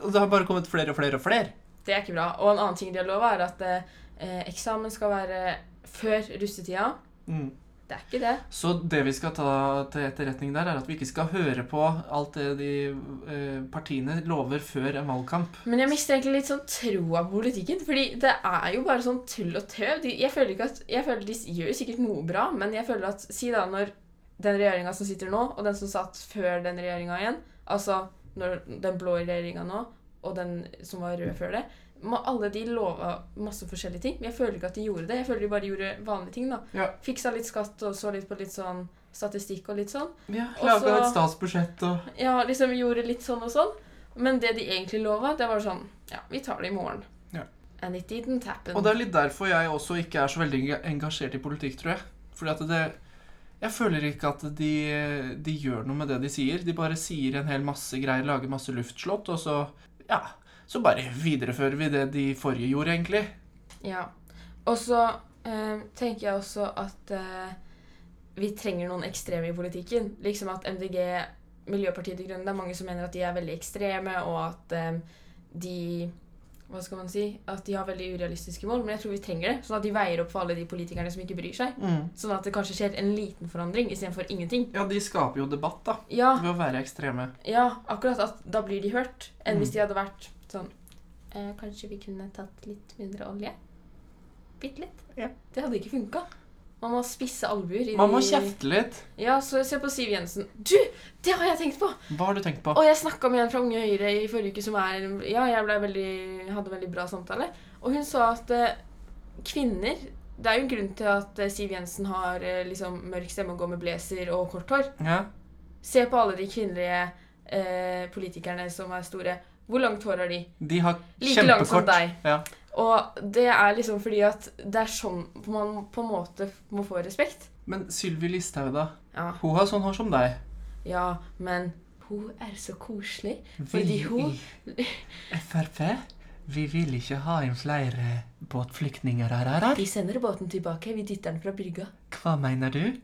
[SPEAKER 2] Og det har bare kommet flere og flere og flere.
[SPEAKER 1] Det er ikke bra. Og en annen ting de har lova, er at eh, eksamen skal være før russetida.
[SPEAKER 2] Mm.
[SPEAKER 1] Det er ikke det.
[SPEAKER 2] Så det vi skal ta til etterretning der, er at vi ikke skal høre på alt det de eh, partiene lover før en valgkamp.
[SPEAKER 1] Men jeg mister egentlig litt sånn troa på politikken. Fordi det er jo bare sånn tull og tøv. De, jeg, føler ikke at, jeg føler De gjør jo sikkert noe bra, men jeg føler at Si da når den regjeringa som sitter nå, og den som satt før den regjeringa igjen Altså når den blå regjeringa nå, og den som var rød før det må Alle de lova masse forskjellige ting. Men jeg føler ikke at de gjorde det. Jeg føler de bare gjorde vanlige ting. da
[SPEAKER 2] Ja.
[SPEAKER 1] Fiksa litt skatt og så litt på litt sånn statistikk og litt sånn.
[SPEAKER 2] Ja,
[SPEAKER 1] Og
[SPEAKER 2] laga
[SPEAKER 1] så-
[SPEAKER 2] et statsbudsjett og
[SPEAKER 1] Ja, liksom gjorde litt sånn og sånn. Men det de egentlig lova, det var sånn Ja, vi tar det i morgen.
[SPEAKER 2] Ja.
[SPEAKER 1] And it didn't happen.
[SPEAKER 2] Og det er litt derfor jeg også ikke er så veldig enga- engasjert i politikk, tror jeg. Fordi at det Jeg føler ikke at de, de gjør noe med det de sier. De bare sier en hel masse greier, lager masse luftslott, og så Ja. Så bare viderefører vi det de forrige gjorde, egentlig.
[SPEAKER 1] Ja. Og så eh, tenker jeg også at eh, vi trenger noen ekstreme i politikken. Liksom at MDG, Miljøpartiet De Grønne, det er mange som mener at de er veldig ekstreme, og at eh, de hva skal man si? At de har veldig urealistiske mål, men jeg tror vi trenger det. Sånn at de veier opp for alle de politikerne som ikke bryr seg. Sånn at det kanskje skjer en liten forandring istedenfor ingenting.
[SPEAKER 2] Ja, de skaper jo debatt, da.
[SPEAKER 1] Ja,
[SPEAKER 2] Ved å være ekstreme.
[SPEAKER 1] Ja, akkurat at da blir de hørt. Enn
[SPEAKER 2] Mm.
[SPEAKER 1] hvis de hadde vært sånn eh, Kanskje vi kunne tatt litt mindre olje? Bitte litt?
[SPEAKER 2] Ja.
[SPEAKER 1] Det hadde ikke funka. Man må spisse albuer. i
[SPEAKER 2] Man må
[SPEAKER 1] de-
[SPEAKER 2] kjefte litt.
[SPEAKER 1] Ja, så se på Siv Jensen. Du! Det har jeg tenkt på!
[SPEAKER 2] Hva har du tenkt på?
[SPEAKER 1] Og jeg snakka med en fra Unge Høyre i forrige uke som er Ja, jeg ble veldig, hadde veldig bra samtale. Og hun sa at eh, kvinner Det er jo en grunn til at eh, Siv Jensen har eh, liksom mørk stemme og går med blazer og kort hår.
[SPEAKER 2] Ja.
[SPEAKER 1] Se på alle de kvinnelige eh, politikerne som er store. Hvor langt hår har de?
[SPEAKER 2] De har
[SPEAKER 1] Like langt som
[SPEAKER 2] kjempekort
[SPEAKER 1] deg.
[SPEAKER 2] Ja.
[SPEAKER 1] Og det er liksom fordi at det er sånn man på en måte må få respekt.
[SPEAKER 2] Men Sylvi Listhaug, da?
[SPEAKER 1] Ja,
[SPEAKER 2] Hun har sånn hår som deg.
[SPEAKER 1] ja men hun er så koselig. Fordi hun-
[SPEAKER 2] i Frp, vi vil ikke ha inn flere båtflyktninger her, her, her.
[SPEAKER 1] De sender båten tilbake. Vi dytter den fra brygga.
[SPEAKER 2] Hva mener du?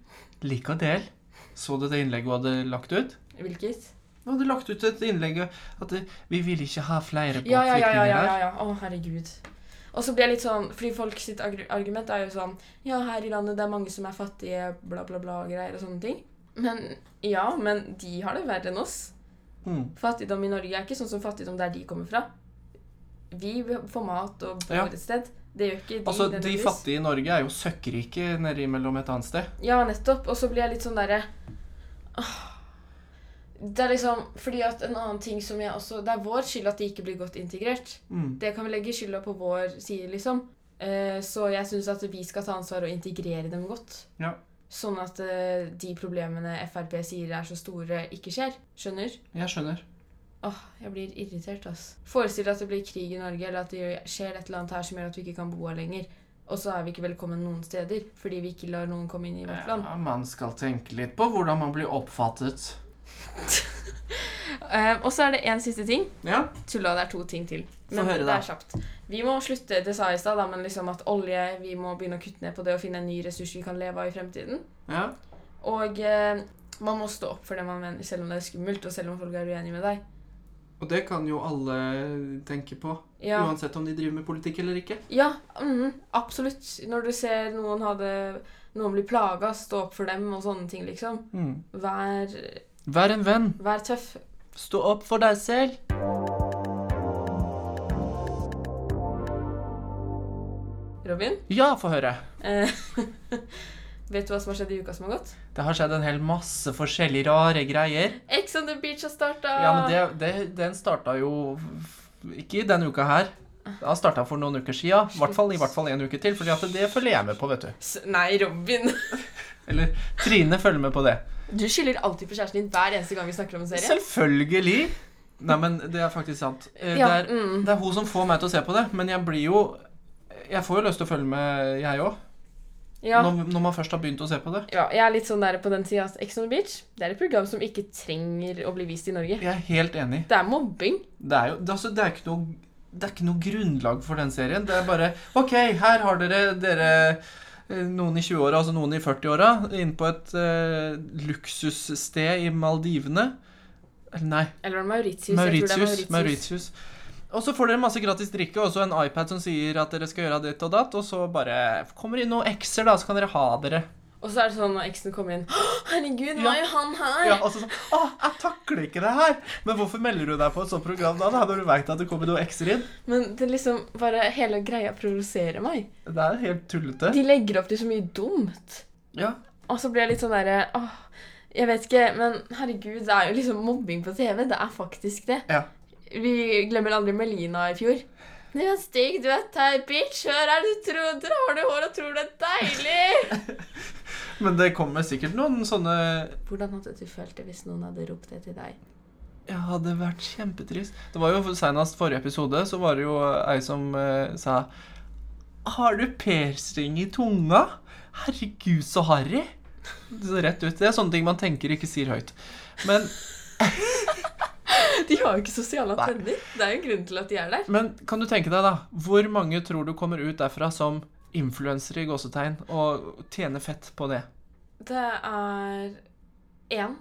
[SPEAKER 2] Lik og del. Så du det innlegget hun hadde lagt ut?
[SPEAKER 1] Hvilket?
[SPEAKER 2] Hun hadde lagt ut et innlegg at eh, vi vil ikke ha flere
[SPEAKER 1] Ja, ja, ja. ja, ja,
[SPEAKER 2] båtflyktninger
[SPEAKER 1] ja,
[SPEAKER 2] her.
[SPEAKER 1] ja. Å, herregud. Og så blir jeg litt sånn, fordi folk sitt agru- argument er jo sånn Ja, her i landet det er mange som er fattige, bla, bla, bla, greier og sånne ting. Men ja, men de har det verre enn oss.
[SPEAKER 2] Mm.
[SPEAKER 1] Fattigdom i Norge er ikke sånn som fattigdom der de kommer fra. Vi får mat og bor
[SPEAKER 2] Ja.
[SPEAKER 1] et sted. Det gjør ikke de.
[SPEAKER 2] Altså, de
[SPEAKER 1] nødvendigvis.
[SPEAKER 2] fattige i Norge er jo søkkrike nede imellom et annet sted.
[SPEAKER 1] Ja, nettopp. Og så blir jeg litt sånn derre «Åh». Det er liksom fordi at en annen ting som jeg også Det er vår skyld at de ikke blir godt integrert.
[SPEAKER 2] Mm.
[SPEAKER 1] Det kan vi legge skylda på vår side, liksom. Eh, Så jeg syns at vi skal ta ansvar og integrere dem godt.
[SPEAKER 2] Ja.
[SPEAKER 1] Sånn at eh, de problemene Frp sier er så store, ikke skjer. Skjønner?
[SPEAKER 2] Jeg skjønner.
[SPEAKER 1] Åh, jeg blir irritert, ass. Forestill deg at det blir krig i Norge, eller at det gjør- skjer et eller annet her som gjør at vi ikke kan bo her lenger. Og så er vi ikke velkommen noen steder, fordi vi ikke lar noen komme inn i vårt land.
[SPEAKER 2] Ja, man skal tenke litt på hvordan man blir oppfattet.
[SPEAKER 1] Eh, og så er det en siste ting.
[SPEAKER 2] Ja.
[SPEAKER 1] Tulla, det er to ting til. Men
[SPEAKER 2] høre,
[SPEAKER 1] det
[SPEAKER 2] da.
[SPEAKER 1] er kjapt. Vi må slutte, det sa jeg i stad, da, men liksom at olje Vi må begynne å kutte ned på det og finne en ny ressurs vi kan leve av i fremtiden.
[SPEAKER 2] ja.
[SPEAKER 1] Og eh, man må stå opp for det man mener, selv om det er skummelt, og selv om folk er uenige med deg.
[SPEAKER 2] Og det kan jo alle tenke på.
[SPEAKER 1] Ja.
[SPEAKER 2] Uansett om de driver med politikk eller ikke.
[SPEAKER 1] Ja, mhm, absolutt. Når du ser noen, ha det- noen bli plaga, stå opp for dem og sånne ting, liksom. Vær,
[SPEAKER 2] Vær en venn.
[SPEAKER 1] vær tøff.
[SPEAKER 2] Stå opp for deg selv.
[SPEAKER 1] Robin,
[SPEAKER 2] Ja, få høre.
[SPEAKER 1] eh, vet du hva som har skjedd i uka som har gått?
[SPEAKER 2] Det har skjedd en hel masse forskjellige rare greier.
[SPEAKER 1] Ex on the beach har starta!
[SPEAKER 2] Ja, men det, det, Den starta jo ikke i denne uka her. Da starta for noen uker sia. I hvert fall i hvert fall en uke til, Fordi at det følger jeg med på, vet du.
[SPEAKER 1] S nei, Robin.
[SPEAKER 2] Eller Trine følger med på det.
[SPEAKER 1] Du skylder alltid på kjæresten din hver eneste gang vi snakker om en serie.
[SPEAKER 2] Selvfølgelig. Nei, men det er faktisk sant. Eh,
[SPEAKER 1] Ja,
[SPEAKER 2] Det, er,
[SPEAKER 1] mm.
[SPEAKER 2] det er hun som får meg til å se på det, men jeg blir jo Jeg får jo lyst til å følge med, jeg òg.
[SPEAKER 1] Ja.
[SPEAKER 2] Når, når man først har begynt å se på det.
[SPEAKER 1] ja, jeg er litt sånn der på den sida. Ex on the beach det er et program som ikke trenger å bli vist i Norge.
[SPEAKER 2] Jeg er helt enig.
[SPEAKER 1] Det er mobbing.
[SPEAKER 2] Det er jo det, altså, det, er ikke noe, det er ikke noe grunnlag for den serien. Det er bare OK, her har dere, dere eh, noen i 20-åra, altså noen i 40-åra, inne på et eh, luksussted i Maldivene. Eller nei,
[SPEAKER 1] Eller var det Mauritius? Jeg tror det er
[SPEAKER 2] Mauritius.
[SPEAKER 1] Mauritius.
[SPEAKER 2] Mauritius. Og så får dere masse gratis drikke og så en iPad som sier at dere skal gjøre ditt og datt, og så bare kommer det inn noen ekser, da, så kan dere ha dere.
[SPEAKER 1] Og så er det sånn når eksen kommer inn «Å, Herregud, var
[SPEAKER 2] Ja.
[SPEAKER 1] jo han her?
[SPEAKER 2] Ja, altså sånn, Å, jeg takler ikke det her! Men hvorfor melder du deg på et sånt program da, da når du veit at det kommer noen ekser inn?
[SPEAKER 1] Men det liksom bare hele greia provoserer meg.
[SPEAKER 2] Det er helt tullete.
[SPEAKER 1] De legger opp til så mye dumt.
[SPEAKER 2] Ja,
[SPEAKER 1] Og så blir jeg litt sånn derre Åh, jeg vet ikke, men herregud, det er jo liksom mobbing på TV. Det er faktisk det.
[SPEAKER 2] Ja.
[SPEAKER 1] Vi glemmer aldri Melina i fjor. Det er en stygg duett her, bitch. Hør her, du tror du har det hår og tror det er deilig.
[SPEAKER 2] Men det kommer sikkert noen sånne
[SPEAKER 1] Hvordan hadde du følt det hvis noen hadde ropt det til deg?
[SPEAKER 2] Ja, det hadde vært kjempetrist. Det var jo Senest forrige episode så var det jo ei som eh, sa Har du persring i tunga? Herregud, så harry! Så rett ut. Det er sånne ting man tenker ikke sier høyt. Men,
[SPEAKER 1] De har jo ikke sosiale
[SPEAKER 2] Nei.
[SPEAKER 1] antenner. Det er jo en grunn til at de er der.
[SPEAKER 2] men kan du tenke deg, da. Hvor mange tror du kommer ut derfra som influensere i gåsetegn og tjener fett på det?
[SPEAKER 1] Det er én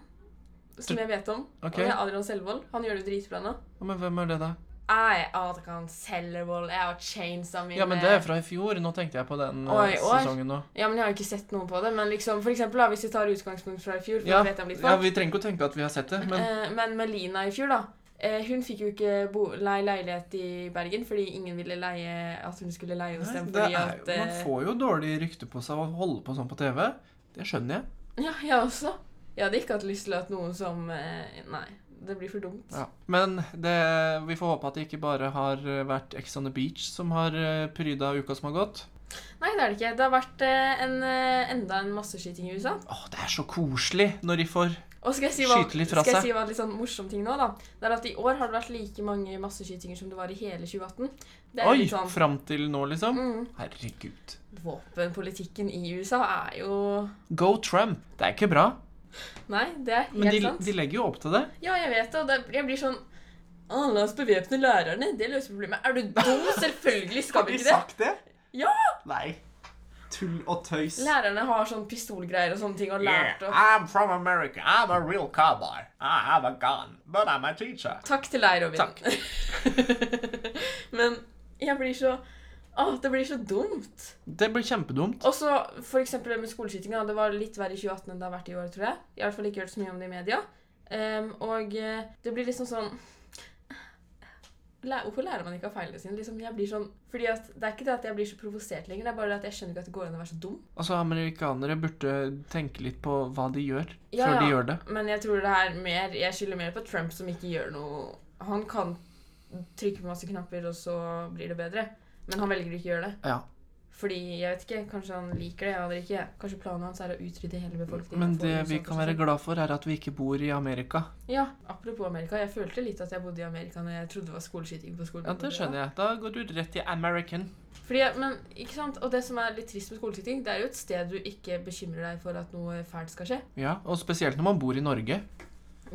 [SPEAKER 1] som jeg vet om.
[SPEAKER 2] Ok.
[SPEAKER 1] Og det er Adrian Selvold. Han gjør det jo dritbra nå.
[SPEAKER 2] Men hvem er det, da?
[SPEAKER 1] Jeg, Adrian Selvold, jeg har chainsa mine
[SPEAKER 2] Ja, men det er fra i fjor. Nå tenkte jeg på den eh,
[SPEAKER 1] Oi, i år?
[SPEAKER 2] sesongen nå.
[SPEAKER 1] Ja, men jeg har jo ikke sett noe på det. Men liksom, for eksempel, da, hvis vi tar utgangspunkt fra i fjor, for
[SPEAKER 2] Ja,
[SPEAKER 1] da vet jeg om litt
[SPEAKER 2] ja,
[SPEAKER 1] folk.
[SPEAKER 2] vi trenger ikke å tenke at vi har sett det, men
[SPEAKER 1] Eh, men Melina i fjor, da. Eh, hun fikk jo ikke bo leie leilighet i Bergen fordi ingen ville leie at hun skulle leie hos
[SPEAKER 2] Nei,
[SPEAKER 1] dem.
[SPEAKER 2] det
[SPEAKER 1] Fordi
[SPEAKER 2] er,
[SPEAKER 1] at
[SPEAKER 2] jo- man
[SPEAKER 1] eh,
[SPEAKER 2] får jo dårlig rykte på seg å holde på sånn på TV. Det skjønner jeg.
[SPEAKER 1] Ja, jeg også. Jeg hadde ikke hatt lyst til at noen som eh, Nei, det blir for dumt.
[SPEAKER 2] Ja. Men det, vi får håpe at det ikke bare har eh, vært Ex on the Beach som har eh, pryda uka som har gått.
[SPEAKER 1] Nei, det er det ikke. Det har vært eh, en, eh, enda en masseskyting i USA.
[SPEAKER 2] Åh, det er så koselig når de får
[SPEAKER 1] Og skal jeg si hva,
[SPEAKER 2] Skyte litt fra
[SPEAKER 1] skal jeg
[SPEAKER 2] seg.
[SPEAKER 1] si hva litt sånn morsom ting nå, da? Det er at i år har det vært like mange masseskytinger som det var i hele 2018. Det er
[SPEAKER 2] Oi!
[SPEAKER 1] litt sånn
[SPEAKER 2] Fram til nå, liksom.
[SPEAKER 1] mm,
[SPEAKER 2] Herregud.
[SPEAKER 1] Våpenpolitikken i USA er jo
[SPEAKER 2] Go Trump! Det er ikke bra,
[SPEAKER 1] Nei, det er
[SPEAKER 2] men
[SPEAKER 1] helt
[SPEAKER 2] de,
[SPEAKER 1] sant.
[SPEAKER 2] de legger jo opp til det.
[SPEAKER 1] Ja, jeg vet det, og det, jeg blir sånn «Å, La oss bevæpne lærerne. Det løser problemet. Er du dum? Selvfølgelig skal vi ikke det.
[SPEAKER 2] det?
[SPEAKER 1] Ja!
[SPEAKER 2] Nei. Tull og tøys.
[SPEAKER 1] Lærerne har sånn pistolgreier og sånne ting og lært opp.
[SPEAKER 2] I'm from America. I'm a real cowboy. I have a gun, but I'm a teacher.
[SPEAKER 1] Takk til deg, Robin.
[SPEAKER 2] Takk.
[SPEAKER 1] Men jeg blir så Å, det blir så dumt.
[SPEAKER 2] Det blir kjempedumt.
[SPEAKER 1] Og så for eksempel det med skoleskytinga. Det var litt verre i 2018 enn det har vært i år, tror jeg. Jeg har i hvert fall ikke hørt så mye om det i media. Ehm, og eh, det blir liksom sånn Læ- Hvorfor lærer man ikke av feilene sine? Liksom, jeg blir sånn, fordi at Det er ikke det at jeg blir så provosert lenger, det er bare det at jeg skjønner ikke at det går an å være så dum.
[SPEAKER 2] Altså, amerikanere burde tenke litt på hva de gjør,
[SPEAKER 1] Ja,
[SPEAKER 2] før de
[SPEAKER 1] ja.
[SPEAKER 2] gjør det.
[SPEAKER 1] Men jeg tror det er mer Jeg skylder mer på Trump, som ikke gjør noe Han kan trykke på masse knapper, og så blir det bedre. Men han velger å ikke gjøre det.
[SPEAKER 2] Ja.
[SPEAKER 1] Fordi, jeg vet ikke, Kanskje han liker det, jeg aner ikke. Kanskje planen hans er å utrydde hele befolkningen.
[SPEAKER 2] Men
[SPEAKER 1] og få sånn
[SPEAKER 2] det
[SPEAKER 1] USA
[SPEAKER 2] vi
[SPEAKER 1] til å
[SPEAKER 2] kan være
[SPEAKER 1] slutte.
[SPEAKER 2] glad for, er at vi ikke bor i Amerika.
[SPEAKER 1] Ja, apropos Amerika. Jeg følte litt at jeg bodde i Amerika når jeg trodde det var skoleskyting på skolen.
[SPEAKER 2] Ja, det skjønner jeg. Da går du rett til American.
[SPEAKER 1] Fordi, jeg- men, ikke sant? Og det som er litt trist med skoleskyting, det er jo et sted du ikke bekymrer deg for at noe fælt skal skje.
[SPEAKER 2] Ja, og spesielt når man bor i Norge.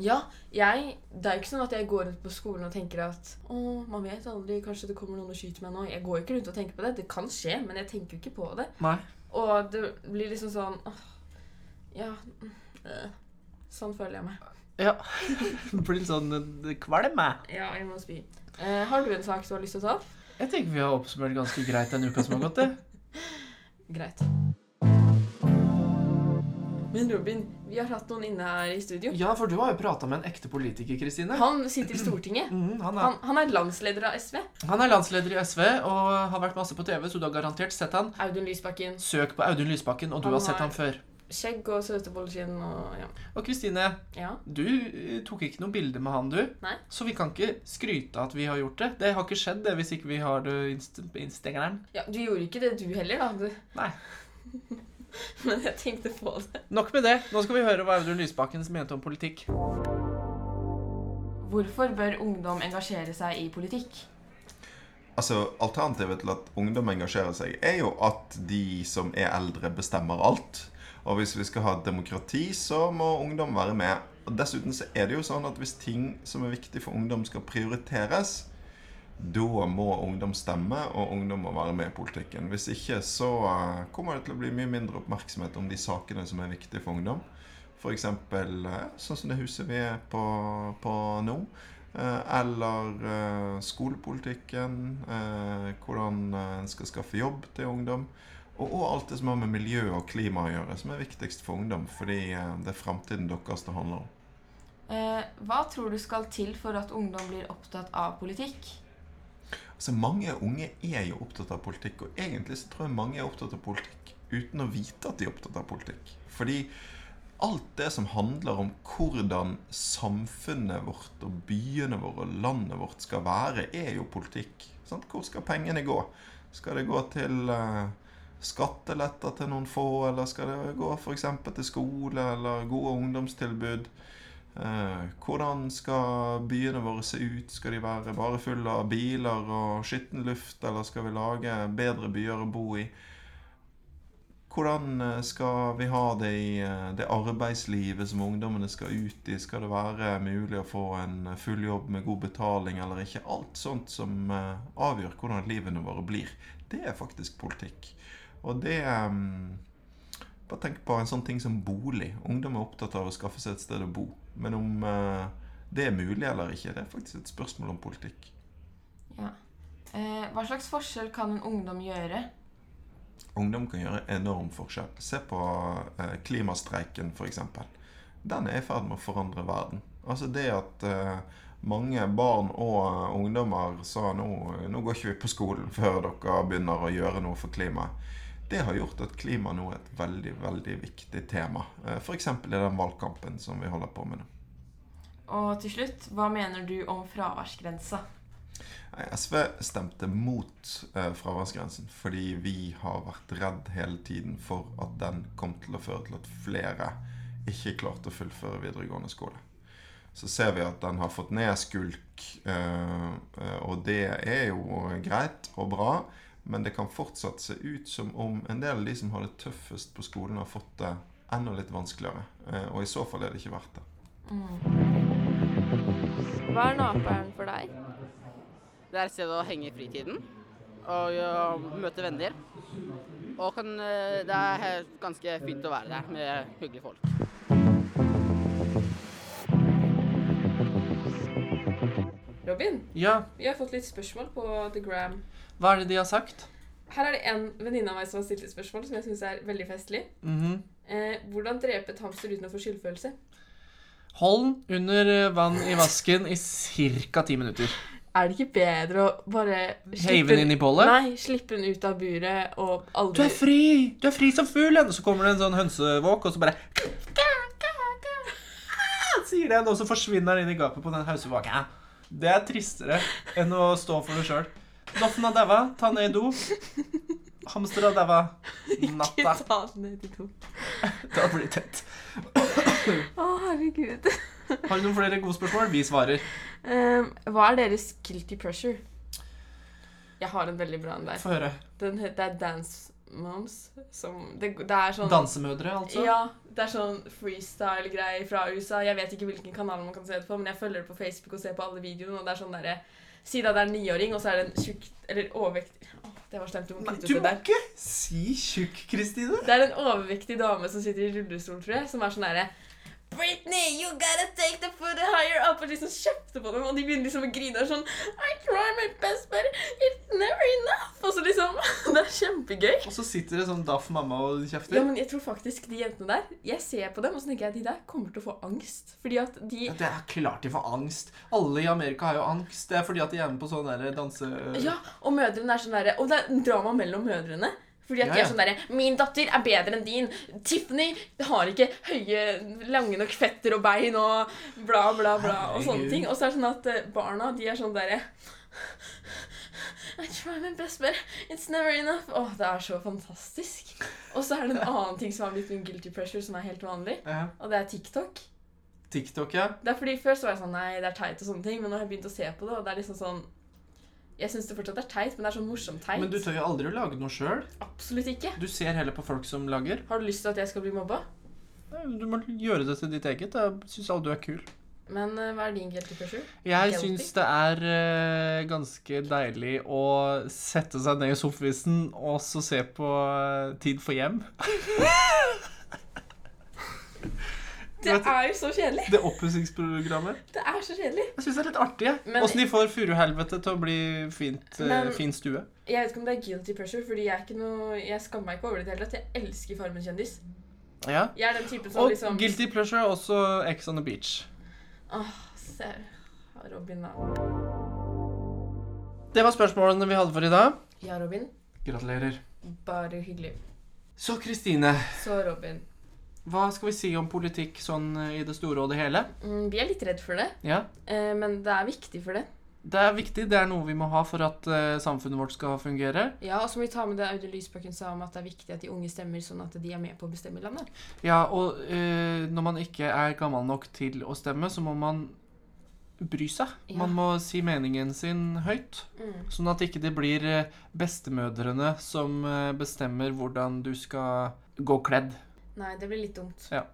[SPEAKER 1] Ja, jeg, det er jo ikke sånn at jeg går rundt på skolen og tenker at å, man vet aldri, kanskje det kommer noen og skyter meg nå. Jeg går jo ikke rundt og tenker på det. Det kan skje, men jeg tenker jo ikke på det.
[SPEAKER 2] Nei.
[SPEAKER 1] Og det blir liksom sånn åh, Ja. mm, øh. Sånn føler jeg meg.
[SPEAKER 2] Ja. Det blir litt sånn eh, kvalm. jeg.
[SPEAKER 1] Ja, jeg må spy. Eh, har du en sak du har lyst til å ta opp?
[SPEAKER 2] Jeg tenker vi har oppsummert ganske greit den uka som har gått, det.
[SPEAKER 1] Greit. Men Robin, vi har hatt noen inne her i studio.
[SPEAKER 2] Ja, for du har jo prata med en ekte politiker, Kristine.
[SPEAKER 1] Han sitter i Stortinget.
[SPEAKER 2] Mhm, han, er,
[SPEAKER 1] Han, han er landsleder av SV.
[SPEAKER 2] han er landsleder i SV og har vært masse på TV, så du har garantert sett han.
[SPEAKER 1] Audun Lysbakken.
[SPEAKER 2] Søk på Audun Lysbakken, og du
[SPEAKER 1] Han
[SPEAKER 2] har sett
[SPEAKER 1] har-
[SPEAKER 2] han før.
[SPEAKER 1] skjegg og søte bolleskinn og ja.
[SPEAKER 2] Og Kristine,
[SPEAKER 1] ja.
[SPEAKER 2] du eh, tok ikke noe bilde med han, du.
[SPEAKER 1] Nei.
[SPEAKER 2] Så vi kan ikke skryte av at vi har gjort det. Det har ikke skjedd det hvis ikke vi har det inst på Instagram.
[SPEAKER 1] Ja, du gjorde ikke det du heller, da. Du.
[SPEAKER 2] Nei.
[SPEAKER 1] Men jeg tenkte på det.
[SPEAKER 2] Nok med det. Nå skal vi høre hva Audun Lysbakken mente om politikk.
[SPEAKER 1] Hvorfor bør ungdom engasjere seg i politikk?
[SPEAKER 4] Altså, Alternativet til at ungdom engasjerer seg, er jo at de som er eldre, bestemmer alt. Og hvis vi skal ha et demokrati, så må ungdom være med. Og Dessuten så er det jo sånn at hvis ting som er viktig for ungdom, skal prioriteres, da må ungdom stemme, og ungdom må være med i politikken. Hvis ikke så eh, kommer det til å bli mye mindre oppmerksomhet om de sakene som er viktige for ungdom. F.eks. sånn som det huset vi er på, på nå. Eh, Eller eh, skolepolitikken, eh, hvordan eh, en skal skaffe jobb til ungdom. Og, og alt det som har med miljø og klima å gjøre, som er viktigst for ungdom. Fordi eh, det er framtiden deres det handler om.
[SPEAKER 1] Eh, hva tror du skal til for at ungdom blir opptatt av politikk?
[SPEAKER 4] Altså, mange unge er jo opptatt av politikk, og egentlig så tror jeg mange er opptatt av politikk uten å vite at de er opptatt av politikk. Fordi alt det som handler om hvordan samfunnet vårt og byene våre og landet vårt skal være, er jo politikk. Sant? Hvor skal pengene gå? Skal det gå til eh, skatteletter til noen få, eller skal det gå f.eks. til skole eller gode ungdomstilbud? Eh, hvordan skal byene våre se ut? Skal de være bare fulle av biler og skitten luft, eller skal vi lage bedre byer å bo i? Hvordan eh, skal vi ha det i eh, det arbeidslivet som ungdommene skal ut i? Skal det være mulig å få en full jobb med god betaling eller ikke? Alt sånt som eh, avgjør hvordan livene våre blir. Det er faktisk politikk. Og det eh, bare tenk på en sånn ting som bolig. Ungdom er opptatt av å skaffe seg et sted å bo. Men om eh, det er mulig eller ikke, det er faktisk et spørsmål om politikk.
[SPEAKER 1] Ja. Eh, hva slags forskjell kan en ungdom gjøre?
[SPEAKER 4] Ungdom kan gjøre enorm forskjell. Se på eh, klimastreiken, f.eks. Den er i ferd med å forandre verden. Altså det at eh, mange barn og eh, ungdommer sa nå, nå går ikke vi på skolen før dere begynner å gjøre noe for klimaet. Det har gjort at klima nå er et veldig, veldig viktig tema. Eh, F.eks. i den valgkampen som vi holder på med nå.
[SPEAKER 1] Og til slutt, hva mener du om fraværsgrensa?
[SPEAKER 4] Nei, SV stemte mot eh, fraværsgrensen fordi vi har vært redd hele tiden for at den kom til å føre til at flere ikke klarte å fullføre videregående skole. Så ser vi at den har fått ned skulk, eh, eh, og det er jo greit og bra, men det kan fortsatt se ut som om en del av de som har det tøffest på skolen, har fått det enda litt vanskeligere. Eh, og i så fall er det ikke verdt det.
[SPEAKER 1] Hva er naperen for deg?
[SPEAKER 5] Det er et sted å henge i fritiden og øh, møte venner. Og kan, øh, det er helt- ganske fint å være der med hyggelige folk.
[SPEAKER 1] Robin,
[SPEAKER 2] Ja,
[SPEAKER 1] vi har fått litt spørsmål på The Gram.
[SPEAKER 2] hva er det de har sagt?
[SPEAKER 1] Her er det en venninne av meg som har stilt et spørsmål som jeg syns er veldig festlig.
[SPEAKER 2] Mhm.
[SPEAKER 1] Eh, hvordan drepe et hamster uten å få skyldfølelse?
[SPEAKER 2] Hold den under eh, vann i vasken i ca. ti minutter.
[SPEAKER 1] Er det ikke bedre å bare
[SPEAKER 2] Heive den inn i bålet.
[SPEAKER 1] Nei, slippe den ut av buret og
[SPEAKER 2] Du
[SPEAKER 1] aldri
[SPEAKER 2] er fri! Du er fri som fuglen! Så kommer det en sånn hønsevåk, og så bare Sier den, og så forsvinner den inn i gapet på den hønsevåken. Det er tristere enn å stå for det sjøl. Doffen har daua. Ta ned i do. Hamster har daua. Natta.
[SPEAKER 1] Ikke ta den ned i do.
[SPEAKER 2] Da blir det tett.
[SPEAKER 1] Å, herregud.
[SPEAKER 2] Har du noen flere gode spørsmål? Vi svarer.
[SPEAKER 1] Ehm, hva er deres guilty pressure? Jeg har en veldig bra en der.
[SPEAKER 2] Få høre.
[SPEAKER 1] Den het- det er Dance Moms. Som, det, det er sånn
[SPEAKER 2] Dansemødre, altså?
[SPEAKER 1] Ja, det er sånn freestyle-greier fra USA. Jeg vet ikke hvilken kanal man kan se det på, men jeg følger det på Facebook og ser på alle videoene, og det er sånn derre Si da det er en niåring, og så er det en tjukk Eller overvektig Åh, Det var slemt. Du må
[SPEAKER 2] Nei,
[SPEAKER 1] kutte
[SPEAKER 2] du
[SPEAKER 1] ut det
[SPEAKER 2] må
[SPEAKER 1] der.
[SPEAKER 2] ikke si tjukk, Kristine.
[SPEAKER 1] Det er en overvektig dame som sitter i rullestol, tror jeg, som er sånn derre Britney, you gotta take the foot higher up! Og liksom kjefter på dem, og de begynner liksom å grine og sånn I try my best, but it's never enough! Og så liksom Det er kjempegøy.
[SPEAKER 2] Og så sitter det sånn daff mamma og
[SPEAKER 1] Ja,
[SPEAKER 2] kjefter.
[SPEAKER 1] men jeg tror faktisk de jentene der Jeg ser på dem og så tenker jeg de der kommer til å få angst. Fordi at de
[SPEAKER 2] Ja, det er klart de får angst. Alle i Amerika har jo angst. Det er fordi at de er med på sånn der danse...
[SPEAKER 1] Ja, og mødrene er sånn derre Og det er drama mellom mødrene. Fordi at
[SPEAKER 2] Ja,
[SPEAKER 1] de
[SPEAKER 2] ja.
[SPEAKER 1] er sånn derre 'Min datter er bedre enn din'. Tiffany har ikke høye, lange nok fetter og bein og bla, bla, bla. Og sånne
[SPEAKER 2] Herregud.
[SPEAKER 1] ting. Og så er det sånn at eh, barna, de er sånn derre I try my best, but it's never enough. Åh, det er så fantastisk. Og så er det en annen ting som har blitt min guilty pressure, som er helt vanlig.
[SPEAKER 2] Ja.
[SPEAKER 1] Og det er TikTok.
[SPEAKER 2] TikTok, ja.
[SPEAKER 1] Det er fordi Før så var jeg sånn Nei, det er teit og sånne ting. Men nå har jeg begynt å se på det, og det er liksom sånn Jeg syns det fortsatt er teit, men det er sånn morsomt teit.
[SPEAKER 2] Men du tør jo aldri å lage noe sjøl.
[SPEAKER 1] Absolutt ikke.
[SPEAKER 2] Du ser heller på folk som lager.
[SPEAKER 1] Har du lyst til at jeg skal bli mobba?
[SPEAKER 2] Nei, men Du må gjøre det til ditt eget. Da syns alle du er kul.
[SPEAKER 1] Men eh, hva er din guilty pressure?
[SPEAKER 2] Jeg
[SPEAKER 1] Guilty.
[SPEAKER 2] syns det er eh, ganske deilig å sette seg ned i sofaen og så se på eh, Tid for hjem.
[SPEAKER 1] Det er jo så kjedelig!
[SPEAKER 2] Det oppussingsprogrammet.
[SPEAKER 1] Det er så kjedelig.
[SPEAKER 2] Jeg syns det er litt artig. jeg.
[SPEAKER 1] Men-
[SPEAKER 2] Åssen de får furuhelvete til å bli fint, eh,
[SPEAKER 1] Men-
[SPEAKER 2] fin stue.
[SPEAKER 1] Jeg vet ikke om det er guilty pressure, fordi jeg er ikke noe Jeg skammer meg ikke over det i det hele tatt. Jeg elsker Farmen kjendis.
[SPEAKER 2] Ja.
[SPEAKER 1] Jeg er den typen som
[SPEAKER 2] Og
[SPEAKER 1] liksom
[SPEAKER 2] Guilty Pleasure er også Ex on the Beach.
[SPEAKER 1] Åh, se. Robin, da.
[SPEAKER 2] Det var spørsmålene vi hadde for i dag.
[SPEAKER 1] Ja, Robin.
[SPEAKER 2] Gratulerer.
[SPEAKER 1] Bare hyggelig.
[SPEAKER 2] Så Kristine,
[SPEAKER 1] Så, Robin.
[SPEAKER 2] hva skal vi si om politikk sånn eh, i det store og det hele?
[SPEAKER 1] Mm, vi er litt redd for det,
[SPEAKER 2] Ja,
[SPEAKER 1] eh, men det er viktig for det.
[SPEAKER 2] Det er viktig, det er noe vi må ha for at eh, samfunnet vårt skal fungere.
[SPEAKER 1] Ja, og så må vi ta med det Audun Lysbakken sa om at det er viktig at de unge stemmer, sånn at de er med på å bestemme landet.
[SPEAKER 2] Ja, og eh, når man ikke er gammel nok til å stemme, så må man bry seg.
[SPEAKER 1] Ja.
[SPEAKER 2] Man må si meningen sin høyt.
[SPEAKER 1] Mm.
[SPEAKER 2] Sånn at ikke det blir eh, bestemødrene som eh, bestemmer hvordan du skal gå kledd.
[SPEAKER 1] Nei, det blir litt dumt.
[SPEAKER 2] Ja.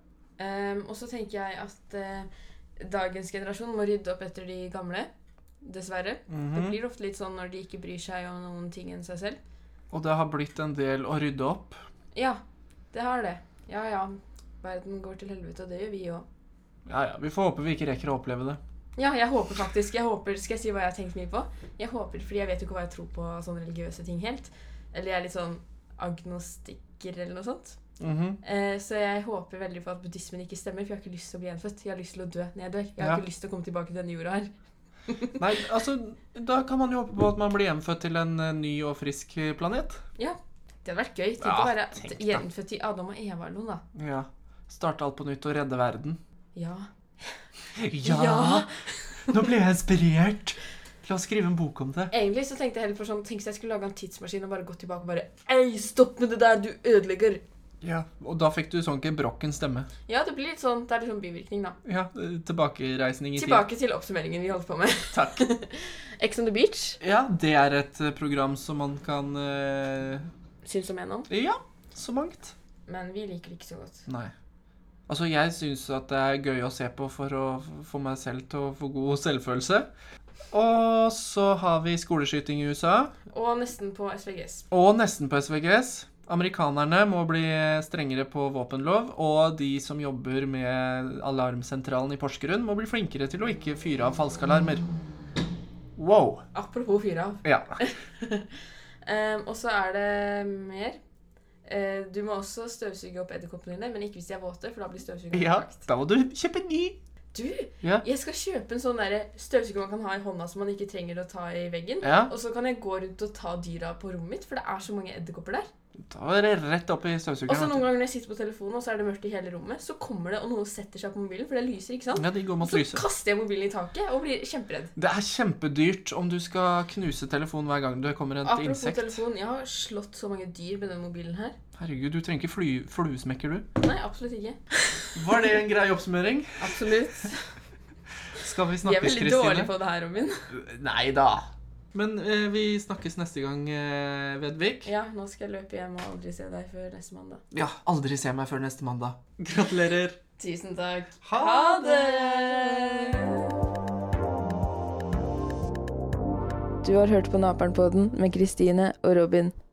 [SPEAKER 1] Ehm, og så tenker jeg at eh, dagens generasjon må rydde opp etter de gamle. Dessverre.
[SPEAKER 2] Mhm.
[SPEAKER 1] Det blir ofte litt sånn når de ikke bryr seg om noen ting enn seg selv.
[SPEAKER 2] Og det har blitt en del å rydde opp.
[SPEAKER 1] Ja, det har det. Ja ja. Verden går til helvete, og det gjør vi òg.
[SPEAKER 2] Ja, ja, Vi får håpe vi ikke rekker å oppleve det.
[SPEAKER 1] Ja, jeg håper faktisk jeg håper, Skal jeg si hva jeg har tenkt mye på? Jeg håper, fordi jeg vet jo ikke hva jeg tror på av sånne religiøse ting helt. Eller jeg er litt sånn agnostiker eller noe sånt.
[SPEAKER 2] Mhm.
[SPEAKER 1] Eh, så jeg håper veldig på at buddhismen ikke stemmer, for jeg har ikke lyst til å bli gjenfødt. Jeg har lyst til å dø når jeg dør. Jeg har
[SPEAKER 2] Ja.
[SPEAKER 1] ikke lyst til å komme tilbake til denne jorda her.
[SPEAKER 2] Nei, altså, Da kan man jo håpe på at man blir hjemfødt til en eh, ny og frisk eh, planet.
[SPEAKER 1] Det hadde vært gøy. Tenk
[SPEAKER 2] Ja,
[SPEAKER 1] å være
[SPEAKER 2] tenk da.
[SPEAKER 1] gjenfødt i Adam og Eva eller noe, da.
[SPEAKER 2] Ja. Starte alt på nytt og redde verden.
[SPEAKER 1] Ja.
[SPEAKER 2] Ja! Nå ble jeg inspirert! La oss skrive en bok om det.
[SPEAKER 1] Egentlig så tenkte jeg heller på sånn Tenk hvis jeg skulle lage en tidsmaskin og bare gå tilbake og bare Ei, stopp med det der, du ødelegger!
[SPEAKER 2] Ja. Og da fikk du sånn ikke brokken stemme.
[SPEAKER 1] Ja, det blir litt sånn Det er litt sånn bivirkning, da.
[SPEAKER 2] Ja, eh, Tilbakereisning i tid.
[SPEAKER 1] Tilbake til oppsummeringen vi holdt på med.
[SPEAKER 2] Takk.
[SPEAKER 1] Ex on the beach.
[SPEAKER 2] Ja, det er et eh, program som man kan eh,
[SPEAKER 1] Syns om en om.
[SPEAKER 2] Ja, så mangt.
[SPEAKER 1] Men vi liker det ikke så godt.
[SPEAKER 2] Nei. Altså, jeg syns at det er gøy å se på for å få meg selv til å få god selvfølelse. Og så har vi skoleskyting i USA,
[SPEAKER 1] Og nesten på SVGS.
[SPEAKER 2] og nesten på SVGS. Amerikanerne må bli strengere på våpenlov, og de som jobber med alarmsentralen i Porsgrunn, må bli flinkere til å ikke fyre av falske alarmer. Wow.
[SPEAKER 1] Apropos fyre av.
[SPEAKER 2] Ja.
[SPEAKER 1] Ehm, og så er det mer. Eh, du må også støvsuge opp edderkoppene dine, men ikke hvis de er våte, for da blir støvsugeren
[SPEAKER 2] ja.
[SPEAKER 1] ødelagt.
[SPEAKER 2] Da må du kjøpe ny.
[SPEAKER 1] Du,
[SPEAKER 2] Ja.
[SPEAKER 1] jeg skal kjøpe en sånn derre støvsuger man kan ha i hånda som man ikke trenger å ta i veggen.
[SPEAKER 2] Ja.
[SPEAKER 1] Og så kan jeg gå rundt og ta dyra på rommet mitt, for det er så mange edderkopper der.
[SPEAKER 2] Da er det rett opp i
[SPEAKER 1] Og så
[SPEAKER 2] støvsugeren.
[SPEAKER 1] noen
[SPEAKER 2] vet
[SPEAKER 1] ganger når jeg sitter på telefonen, og så er det mørkt i hele rommet, så kommer det, og noen setter seg på mobilen, for det lyser, ikke
[SPEAKER 2] du.
[SPEAKER 1] sant?
[SPEAKER 2] Ja, de går mot
[SPEAKER 1] Så
[SPEAKER 2] lyset.
[SPEAKER 1] kaster jeg mobilen i taket og blir kjemperedd.
[SPEAKER 2] Det er kjempedyrt om du skal knuse telefonen hver gang det kommer et
[SPEAKER 1] Apropos
[SPEAKER 2] insekt.
[SPEAKER 1] telefon, jeg har slått så mange dyr med den mobilen her.
[SPEAKER 2] Herregud, du trenger ikke fly, fluesmekker, du.
[SPEAKER 1] Nei, absolutt ikke.
[SPEAKER 2] Var det en grei oppsummering?
[SPEAKER 1] Absolutt.
[SPEAKER 2] Skal vi
[SPEAKER 1] Jeg er
[SPEAKER 2] snakkes,
[SPEAKER 1] veldig dårlig
[SPEAKER 2] Kristine?
[SPEAKER 1] på det her, Robin.
[SPEAKER 2] Nei da. Men eh, vi snakkes neste gang, eh, Vedvik.
[SPEAKER 1] Ja, nå skal jeg løpe hjem og aldri se deg før neste mandag.
[SPEAKER 2] Ja, aldri se meg før neste mandag. Gratulerer.
[SPEAKER 1] Tusen takk.
[SPEAKER 2] Ha
[SPEAKER 1] det! Du har hørt på Naperen-podden med Kristine og Robin.